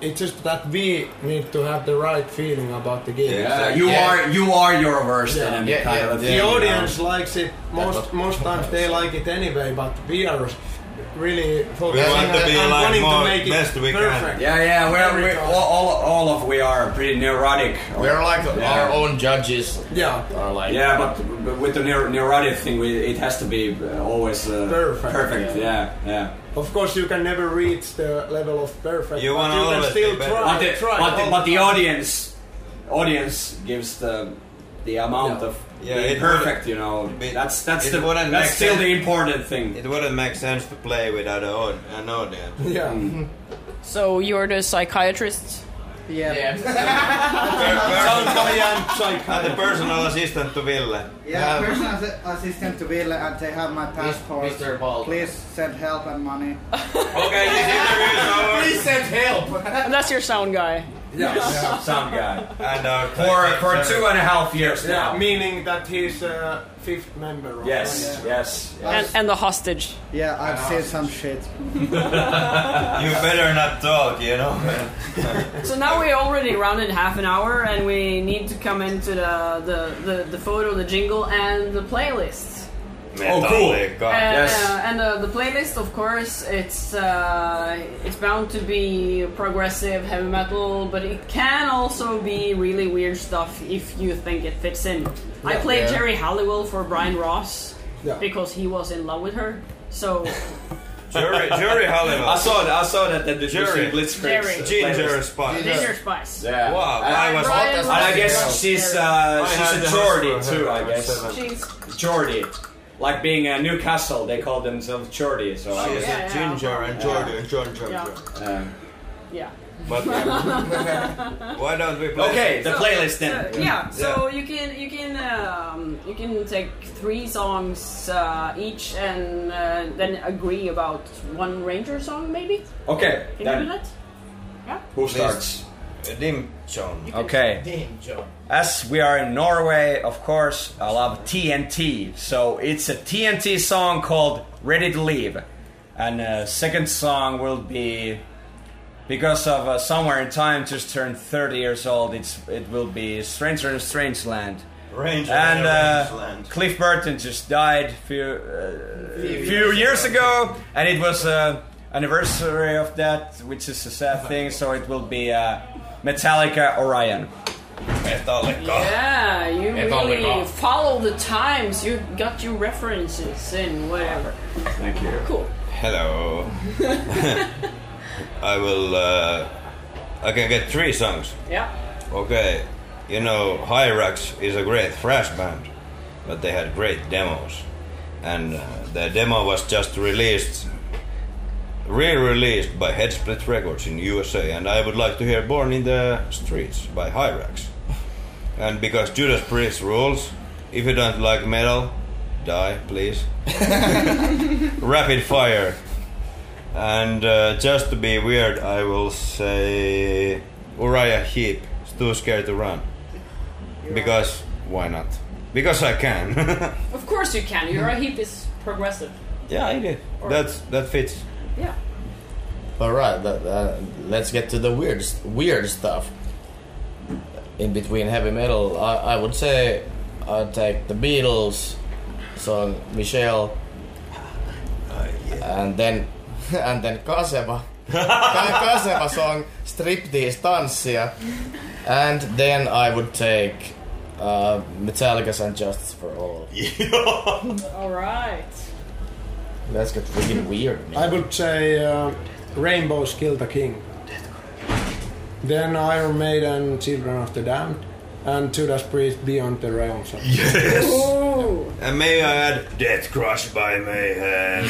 [SPEAKER 6] it's just that we need to have the right feeling about the game.
[SPEAKER 3] Uh, you
[SPEAKER 5] Yeah.
[SPEAKER 3] are you are your worst
[SPEAKER 6] Yeah.
[SPEAKER 3] enemy.
[SPEAKER 5] Yeah,
[SPEAKER 3] kind
[SPEAKER 5] yeah,
[SPEAKER 3] of a
[SPEAKER 5] yeah.
[SPEAKER 3] thing,
[SPEAKER 6] The
[SPEAKER 3] you know.
[SPEAKER 6] audience likes it most most times. They like it anyway, but we are really
[SPEAKER 4] We
[SPEAKER 6] focusing
[SPEAKER 4] want to
[SPEAKER 6] on-
[SPEAKER 4] be
[SPEAKER 6] on
[SPEAKER 4] like
[SPEAKER 6] wanting to
[SPEAKER 4] more
[SPEAKER 6] make it
[SPEAKER 4] best we can.
[SPEAKER 6] perfect.
[SPEAKER 3] Yeah, yeah. We're,
[SPEAKER 6] Very
[SPEAKER 3] we're
[SPEAKER 6] close.
[SPEAKER 3] all, all all of we are pretty neurotic.
[SPEAKER 5] We're like our
[SPEAKER 3] Yeah.
[SPEAKER 5] own judges.
[SPEAKER 6] Yeah.
[SPEAKER 5] Are like
[SPEAKER 3] Yeah, but, but with the neur- neurotic thing, we, it has to be uh, always uh,
[SPEAKER 6] Perfect.
[SPEAKER 3] Yeah, yeah.
[SPEAKER 6] Of course, you can never reach the level of perfect.
[SPEAKER 4] You
[SPEAKER 6] but
[SPEAKER 4] wanna
[SPEAKER 6] you can
[SPEAKER 4] always
[SPEAKER 6] still
[SPEAKER 4] be better.
[SPEAKER 6] try.
[SPEAKER 3] But the,
[SPEAKER 6] try
[SPEAKER 3] but the,
[SPEAKER 6] all
[SPEAKER 3] but the
[SPEAKER 6] time.
[SPEAKER 3] audience, audience gives the the amount
[SPEAKER 6] Yeah.
[SPEAKER 3] of
[SPEAKER 4] Yeah,
[SPEAKER 3] being
[SPEAKER 4] it
[SPEAKER 3] perfect. You know,
[SPEAKER 4] it-
[SPEAKER 3] that's that's
[SPEAKER 4] it
[SPEAKER 3] the
[SPEAKER 4] wouldn't
[SPEAKER 3] that's
[SPEAKER 4] make
[SPEAKER 3] still
[SPEAKER 4] sense.
[SPEAKER 3] the important thing.
[SPEAKER 4] It wouldn't make sense to play without a aud- an audience.
[SPEAKER 6] Yeah.
[SPEAKER 9] Mm.
[SPEAKER 2] So you're the psychiatrist?
[SPEAKER 6] Yeah.
[SPEAKER 4] Per-
[SPEAKER 6] Psycho-
[SPEAKER 4] per- the personal assistant to Ville.
[SPEAKER 9] Yeah,
[SPEAKER 5] Um,
[SPEAKER 9] personal assi- assistant to Ville and they have my passport.
[SPEAKER 5] Mr. Bald.
[SPEAKER 9] Please send help and money.
[SPEAKER 4] Okay, this interview is over.
[SPEAKER 5] Please send help.
[SPEAKER 2] And that's your sound guy.
[SPEAKER 3] Yeah, some guy
[SPEAKER 4] And our
[SPEAKER 3] for for two and a half years
[SPEAKER 6] Yeah,
[SPEAKER 3] now.
[SPEAKER 6] Meaning that he's uh, fifth member. Of
[SPEAKER 3] Yes,
[SPEAKER 4] Oh,
[SPEAKER 3] yes. yes.
[SPEAKER 2] And, and the hostage.
[SPEAKER 9] Yeah, I've seen some shit.
[SPEAKER 4] You better not talk, you know.
[SPEAKER 3] Oh,
[SPEAKER 2] So now we already rounded half an hour and we need to come into the, the, the, the photo, the jingle, and the playlist.
[SPEAKER 3] Oh, cool.
[SPEAKER 4] Metallica.
[SPEAKER 2] And,
[SPEAKER 3] Yes.
[SPEAKER 2] uh, and uh, the playlist, of course, it's uh, it's bound to be progressive heavy metal, but it can also be really weird stuff if you think it fits in. I played
[SPEAKER 5] Yeah.
[SPEAKER 2] Jerry Halliwell for Brian Ross
[SPEAKER 6] Yeah.
[SPEAKER 2] because he was in love with her. So
[SPEAKER 4] Jury, jury Halliwell.
[SPEAKER 3] I saw that. I saw that that the
[SPEAKER 4] Jerry.
[SPEAKER 2] Jerry.
[SPEAKER 3] Blitzkrieg
[SPEAKER 4] Ginger Spice.
[SPEAKER 5] Ginger.
[SPEAKER 2] Ginger Spice.
[SPEAKER 3] Yeah.
[SPEAKER 4] Wow,
[SPEAKER 3] And-
[SPEAKER 4] I was
[SPEAKER 2] Brian
[SPEAKER 5] as-
[SPEAKER 3] And I
[SPEAKER 2] Ross
[SPEAKER 3] guess
[SPEAKER 2] was
[SPEAKER 3] she's
[SPEAKER 2] Jerry.
[SPEAKER 4] I had
[SPEAKER 3] uh, she's
[SPEAKER 4] the
[SPEAKER 3] a
[SPEAKER 4] house
[SPEAKER 3] Geordie
[SPEAKER 4] for her
[SPEAKER 3] too, I
[SPEAKER 4] at
[SPEAKER 3] guess.
[SPEAKER 4] seven.
[SPEAKER 2] She's
[SPEAKER 3] Geordie. Like being uh, Newcastle, they call themselves Geordie. So I
[SPEAKER 4] She is
[SPEAKER 3] guess.
[SPEAKER 2] Yeah,
[SPEAKER 4] a
[SPEAKER 2] yeah.
[SPEAKER 4] ginger and Jordan and Jordan.
[SPEAKER 2] yeah,
[SPEAKER 3] Um,
[SPEAKER 2] yeah.
[SPEAKER 4] But uh, why don't we play?
[SPEAKER 3] okay, the
[SPEAKER 2] So- So,
[SPEAKER 3] playlist then.
[SPEAKER 2] yeah, so you can you can um, you can take three songs uh, each and uh, then agree about one Ranger song maybe.
[SPEAKER 3] Okay,
[SPEAKER 2] Can you do
[SPEAKER 3] then
[SPEAKER 2] that? Yeah.
[SPEAKER 3] who starts?
[SPEAKER 4] Dim John.
[SPEAKER 3] Okay,
[SPEAKER 5] Damn, John.
[SPEAKER 3] as we are in Norway, of course, I love TNT. So it's a TNT song called Ready to Leave. And uh, second song will be because of uh, Somewhere in Time just turned 30 years old, it's it will be Stranger in Strange Land.
[SPEAKER 4] Ranger and
[SPEAKER 3] and uh,
[SPEAKER 4] Rangeland.
[SPEAKER 3] Cliff Burton just died few uh, few years ago, and it was uh, anniversary of that, which is a sad thing. So it will be uh, Metallica Orion.
[SPEAKER 4] Metallica.
[SPEAKER 3] Oh.
[SPEAKER 2] Yeah, you
[SPEAKER 5] If only
[SPEAKER 2] really
[SPEAKER 5] not.
[SPEAKER 2] follow the times. You got your references and whatever.
[SPEAKER 3] Thank you.
[SPEAKER 2] Cool.
[SPEAKER 4] Hello. I will. Uh, I can get three songs.
[SPEAKER 2] Yeah.
[SPEAKER 4] Okay, you know, Hyrax is a great thrash band, but they had great demos. And uh, the demo was just released, re released by Headsplit Records in USA, and I would like to hear Born in the Streets by Hyrax. and because Judas Priest rules, if you don't like metal, die, please. Rapid fire. And uh, just to be weird, I will say Uriah Heep is too scared to run. Because why not? Because I can.
[SPEAKER 2] Of course you can. You're
[SPEAKER 3] Hmm.
[SPEAKER 2] a heap is progressive.
[SPEAKER 4] yeah, I did. That's that fits.
[SPEAKER 2] Yeah.
[SPEAKER 5] All right, that, uh, let's get to the weird, weird stuff. In between heavy metal, I, I would say I'd take the Beatles song Michelle, and then and then Kaseva, Ka- Kaseva song Striptease Tanssia, and then I would take uh, Metallica's and Justice for All.
[SPEAKER 8] All right.
[SPEAKER 5] Let's get freaking weird. Man.
[SPEAKER 6] I would say uh, Rainbows Kill the King. Then Iron Maiden, Children of the Damned, and Judas Priest, Beyond the Realms. Of
[SPEAKER 8] Ooh.
[SPEAKER 4] And may I add, Death Crushed by Mayhem.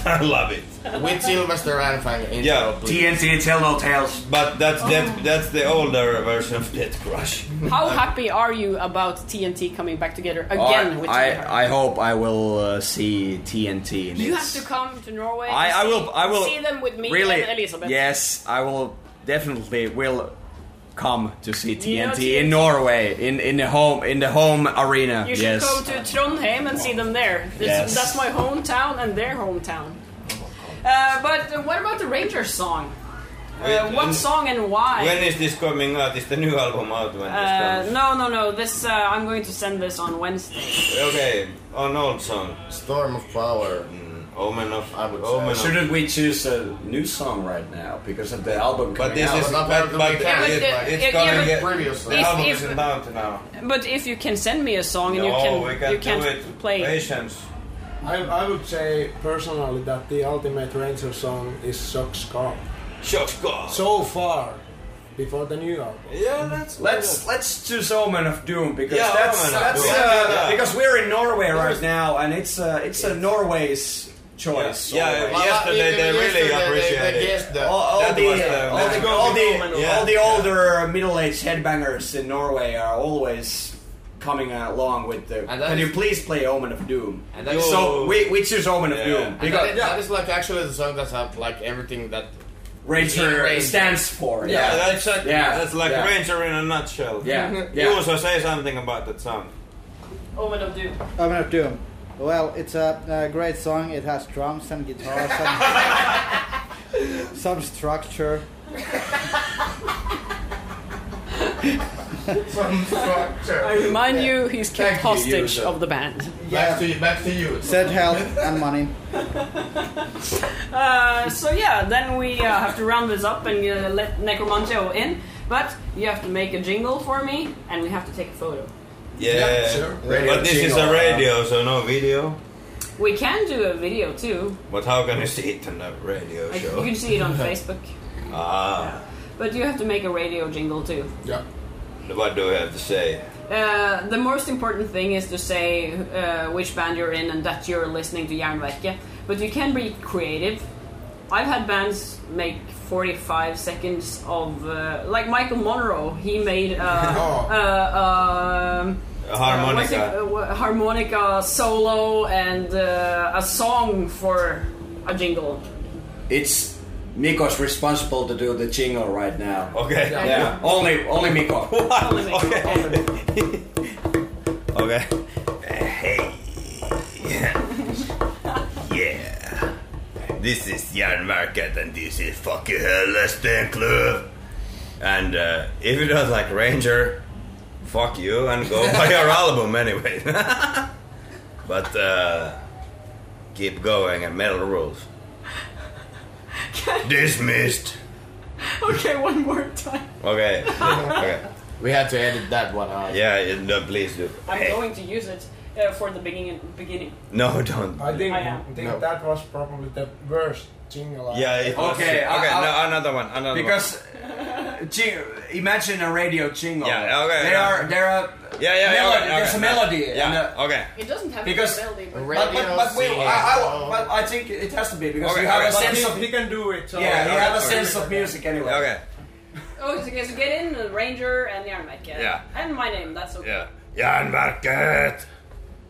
[SPEAKER 4] I love it.
[SPEAKER 5] With Sylvester Anfang in
[SPEAKER 4] Yeah,
[SPEAKER 3] TNT, tell no tales.
[SPEAKER 4] But that's
[SPEAKER 2] Oh.
[SPEAKER 4] that, that's the older version of Death Crush.
[SPEAKER 2] How happy are you about TNT coming back together again
[SPEAKER 3] I,
[SPEAKER 2] with Taylor?
[SPEAKER 3] I, I hope I will uh, see TNT. In
[SPEAKER 2] You
[SPEAKER 3] its-
[SPEAKER 2] have to come to Norway.
[SPEAKER 3] I,
[SPEAKER 2] to
[SPEAKER 3] I
[SPEAKER 2] see-
[SPEAKER 3] will. I will
[SPEAKER 2] see them with me
[SPEAKER 3] really,
[SPEAKER 2] and Elizabeth.
[SPEAKER 3] Yes, I will. Definitely will come to see TNT,
[SPEAKER 2] You know
[SPEAKER 3] in
[SPEAKER 2] TNT.
[SPEAKER 3] Norway in in the home in the home arena.
[SPEAKER 2] You should
[SPEAKER 3] yes.
[SPEAKER 2] go to Trondheim and see them there. This,
[SPEAKER 3] Yes.
[SPEAKER 2] That's my hometown and their hometown. Uh, but uh, what about the Rangers song? Uh,
[SPEAKER 4] Wait,
[SPEAKER 2] what
[SPEAKER 4] and-
[SPEAKER 2] song and why?
[SPEAKER 4] When is this coming out? Is the new album out when
[SPEAKER 2] uh,
[SPEAKER 4] this comes?
[SPEAKER 2] no, no, no. This uh, I'm going to send this on Wednesday.
[SPEAKER 4] Okay, an old song.
[SPEAKER 5] Storm of Power.
[SPEAKER 4] Omen of
[SPEAKER 5] I would
[SPEAKER 4] Omen
[SPEAKER 5] say.
[SPEAKER 4] of
[SPEAKER 3] Shouldn't we choose a new song right now because of the album?
[SPEAKER 4] But
[SPEAKER 3] coming
[SPEAKER 4] this
[SPEAKER 3] out?
[SPEAKER 4] is
[SPEAKER 5] but
[SPEAKER 4] but, but,
[SPEAKER 5] not part of the
[SPEAKER 4] it-
[SPEAKER 2] mechanic, but-
[SPEAKER 4] it's
[SPEAKER 2] yeah,
[SPEAKER 4] coming.
[SPEAKER 2] but
[SPEAKER 4] Yeah,
[SPEAKER 5] previously.
[SPEAKER 4] the
[SPEAKER 2] If-
[SPEAKER 4] album
[SPEAKER 2] if-
[SPEAKER 4] isn't out now.
[SPEAKER 2] But if you can send me a song and you
[SPEAKER 4] No,
[SPEAKER 2] can,
[SPEAKER 4] we can
[SPEAKER 2] you can
[SPEAKER 4] do it.
[SPEAKER 2] play. it.
[SPEAKER 4] Patience.
[SPEAKER 6] I, I would say personally that the Ultimate Ranger song is Socks Car.
[SPEAKER 4] Shock God.
[SPEAKER 6] So far, before the new album.
[SPEAKER 4] yeah, let's
[SPEAKER 3] Let's let's choose Omen of Doom because
[SPEAKER 4] Yeah,
[SPEAKER 3] that's,
[SPEAKER 4] Omen of
[SPEAKER 3] that's
[SPEAKER 4] Doom.
[SPEAKER 3] uh,
[SPEAKER 4] Yeah.
[SPEAKER 3] because we're in Norway right now and it's uh, it's a Norway's choice.
[SPEAKER 4] Yeah, yeah,
[SPEAKER 3] always.
[SPEAKER 5] Well,
[SPEAKER 4] Yesterday, they
[SPEAKER 5] even
[SPEAKER 4] really
[SPEAKER 5] yesterday they-
[SPEAKER 4] appreciate
[SPEAKER 5] they
[SPEAKER 4] it.
[SPEAKER 5] guessed the-
[SPEAKER 3] all, all
[SPEAKER 4] That
[SPEAKER 3] the,
[SPEAKER 4] was the-
[SPEAKER 3] all
[SPEAKER 4] let's
[SPEAKER 3] the,
[SPEAKER 4] go
[SPEAKER 3] all
[SPEAKER 4] with
[SPEAKER 3] the,
[SPEAKER 4] Omen of Doom.
[SPEAKER 3] all the
[SPEAKER 4] Yeah.
[SPEAKER 3] older middle-aged headbangers in Norway are always coming along with the.
[SPEAKER 5] And that
[SPEAKER 3] Can
[SPEAKER 5] is-
[SPEAKER 3] you please play Omen of Doom?
[SPEAKER 5] And that is-
[SPEAKER 3] so we, we choose Omen
[SPEAKER 4] Yeah.
[SPEAKER 3] of Doom
[SPEAKER 5] And that,
[SPEAKER 3] because
[SPEAKER 5] is- that is like actually the song that have like everything that
[SPEAKER 3] Ranger
[SPEAKER 5] Ranger.
[SPEAKER 3] stands for.
[SPEAKER 4] Yeah,
[SPEAKER 3] Yeah,
[SPEAKER 4] that's like,
[SPEAKER 3] Yeah,
[SPEAKER 4] that's like
[SPEAKER 3] yeah.
[SPEAKER 4] Ranger in a nutshell.
[SPEAKER 3] yeah, yeah.
[SPEAKER 4] You also say something about that song.
[SPEAKER 2] Omen of Doom.
[SPEAKER 9] Omen of Doom. Well, it's a, a great song. It has drums and guitar, some, some structure.
[SPEAKER 5] some structure.
[SPEAKER 2] I remind you, he's kept
[SPEAKER 5] Thank you,
[SPEAKER 2] hostage
[SPEAKER 5] user.
[SPEAKER 2] of the band.
[SPEAKER 5] Back to you. Back to you.
[SPEAKER 9] Said help and money.
[SPEAKER 2] Uh, so yeah, then we uh, have to round this up and uh, let Necromantio in. But you have to make a jingle for me, and we have to take a photo.
[SPEAKER 4] Yeah.
[SPEAKER 6] sure.
[SPEAKER 5] Radio
[SPEAKER 4] But this is
[SPEAKER 5] jingle,
[SPEAKER 4] a
[SPEAKER 5] uh,
[SPEAKER 4] radio, so no video.
[SPEAKER 2] We can do a video too.
[SPEAKER 4] But how can you see it on a radio
[SPEAKER 2] Like,
[SPEAKER 4] show?
[SPEAKER 2] You can see it on Facebook.
[SPEAKER 4] Ah,
[SPEAKER 2] But you have to make a radio jingle too.
[SPEAKER 6] Yeah.
[SPEAKER 4] what do we have to say?
[SPEAKER 2] Uh, the most important thing is to say uh, which band you're in and that you're listening to Järnverket. But you can be creative. I've had bands make 45 seconds of, uh, like Michael Monroe. He made uh, uh, um,
[SPEAKER 4] A
[SPEAKER 2] uh, what's it-
[SPEAKER 4] Oh. harmonica.
[SPEAKER 2] uh, wha- harmonica solo and uh, a song for a jingle.
[SPEAKER 3] It's Miko's responsible to do the jingle right now.
[SPEAKER 4] Okay.
[SPEAKER 3] Yeah, only only Miko.
[SPEAKER 2] Only me.
[SPEAKER 4] Okay. okay. Hey. yeah. This is Jan Market and this is fucking Hellesten Club. And uh, if you don't like Ranger, fuck you and go buy your album anyway. but uh, keep going and metal rules. Dismissed.
[SPEAKER 2] okay, one more time.
[SPEAKER 4] Okay. okay.
[SPEAKER 5] We had to edit that one out.
[SPEAKER 4] Yeah, yeah, no, please do.
[SPEAKER 2] I'm
[SPEAKER 4] Hey.
[SPEAKER 2] going to use it uh, for the beginning. beginning.
[SPEAKER 4] No, don't.
[SPEAKER 6] I think,
[SPEAKER 2] I am.
[SPEAKER 6] think
[SPEAKER 5] No.
[SPEAKER 6] that was probably the worst jingle I
[SPEAKER 4] Yeah. It was,
[SPEAKER 3] Okay,
[SPEAKER 4] Okay.
[SPEAKER 3] I- I'll-
[SPEAKER 4] no, another one. Another
[SPEAKER 3] Because uh, jing- imagine a radio jingle.
[SPEAKER 4] Yeah, okay,
[SPEAKER 3] There
[SPEAKER 4] yeah.
[SPEAKER 3] are there are
[SPEAKER 4] one. Yeah. Yeah. yeah
[SPEAKER 3] melody-
[SPEAKER 4] okay,
[SPEAKER 3] there's
[SPEAKER 4] okay,
[SPEAKER 3] a melody.
[SPEAKER 4] Yeah.
[SPEAKER 3] and a-
[SPEAKER 4] okay.
[SPEAKER 2] It doesn't have
[SPEAKER 3] Because-
[SPEAKER 2] to be a melody, but-
[SPEAKER 3] but, but, but, we,
[SPEAKER 5] Radios,
[SPEAKER 3] I, I,
[SPEAKER 5] so-
[SPEAKER 3] but I think it has to be because
[SPEAKER 4] Okay,
[SPEAKER 3] you have
[SPEAKER 4] okay.
[SPEAKER 3] a
[SPEAKER 4] But
[SPEAKER 3] sense
[SPEAKER 6] he,
[SPEAKER 3] of
[SPEAKER 6] he can do it. So
[SPEAKER 3] yeah, you
[SPEAKER 4] okay,
[SPEAKER 3] have a
[SPEAKER 4] okay.
[SPEAKER 3] sense of music anyway.
[SPEAKER 4] Okay.
[SPEAKER 8] Oh, it's okay, so get in, the Ranger and Yarnmek.
[SPEAKER 4] Yeah.
[SPEAKER 8] And my name, that's okay.
[SPEAKER 4] Yeah. Jan Market!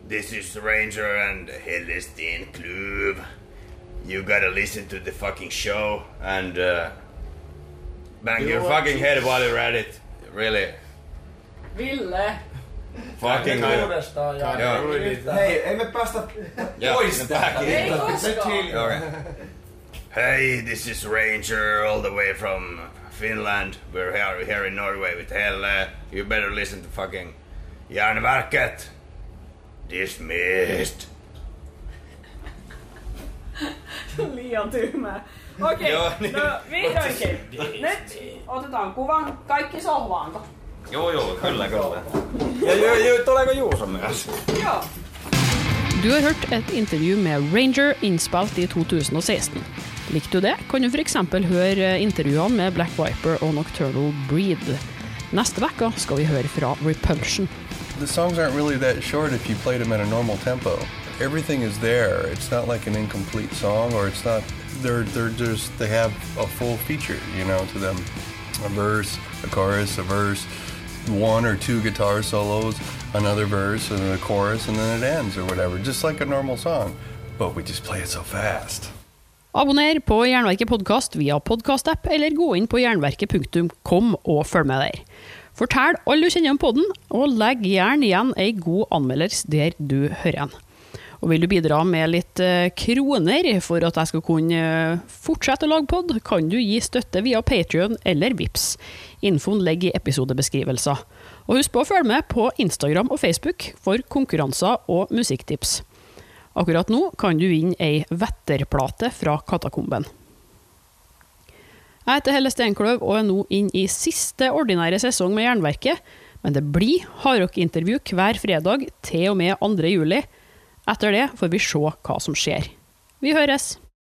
[SPEAKER 4] This is Ranger and Helestin Klub. You gotta listen to the fucking show and uh, bang
[SPEAKER 5] Do
[SPEAKER 4] your
[SPEAKER 5] what
[SPEAKER 4] fucking
[SPEAKER 5] you-
[SPEAKER 4] head while you're at it. Really.
[SPEAKER 2] Ville.
[SPEAKER 4] Fucking good.
[SPEAKER 6] uudestaan ja
[SPEAKER 4] Joo.
[SPEAKER 5] Hei, emme päästä
[SPEAKER 4] Yeah.
[SPEAKER 2] Ei koskaan.
[SPEAKER 4] Alright. Hey, this is Ranger all the way from Finland. We're here, here in Norway with Helle. You better listen to fucking Jan Market. Dismissed.
[SPEAKER 8] Liian tyhmää. Okei,
[SPEAKER 4] Joo,
[SPEAKER 8] okay,
[SPEAKER 4] niin.
[SPEAKER 8] no vihdoinkin. Nyt otetaan kuvan kaikki sohvaanko.
[SPEAKER 4] Joo, joo, kyllä, kyllä. Ja joo, joo, tuleeko Juuso myös?
[SPEAKER 8] Joo.
[SPEAKER 1] Du har hørt et intervju med Ranger innspilt i 2016. Likte du det, kan du f.eks. høre intervjuene med Black Viper og Nocturnal Breed. Neste uke skal vi høre fra Repulsion.
[SPEAKER 10] The songs aren't really that short if you played them at a normal tempo. Everything is there. It's not like an incomplete song, or it's not. They're they're just they have a full feature, you know, to them. A verse, a chorus, a verse, one or two guitar solos, another verse, and then a chorus, and then it ends or whatever, just like a normal song. But we just play it so fast.
[SPEAKER 1] Abonner på Jernverket podkast via podkastapp, eller gå inn på jernverket.com og følg med der. Fortell alle du kjenner om podden, og legg gjerne igjen ei god anmeldelse der du hører den. Og vil du bidra med litt eh, kroner for at jeg skal kunne eh, fortsette å lage pod, kan du gi støtte via Patrion eller Vips. Infoen ligger i episodebeskrivelser. Og husk på å følge med på Instagram og Facebook for konkurranser og musikktips. Akkurat nå kan du vinne ei vetterplate fra Katakomben. Jeg heter Helle Steinkløv og er nå inn i siste ordinære sesong med Jernverket, men det blir hardrockintervju hver fredag til og med 2. juli. Etter det får vi se hva som skjer. Vi høres!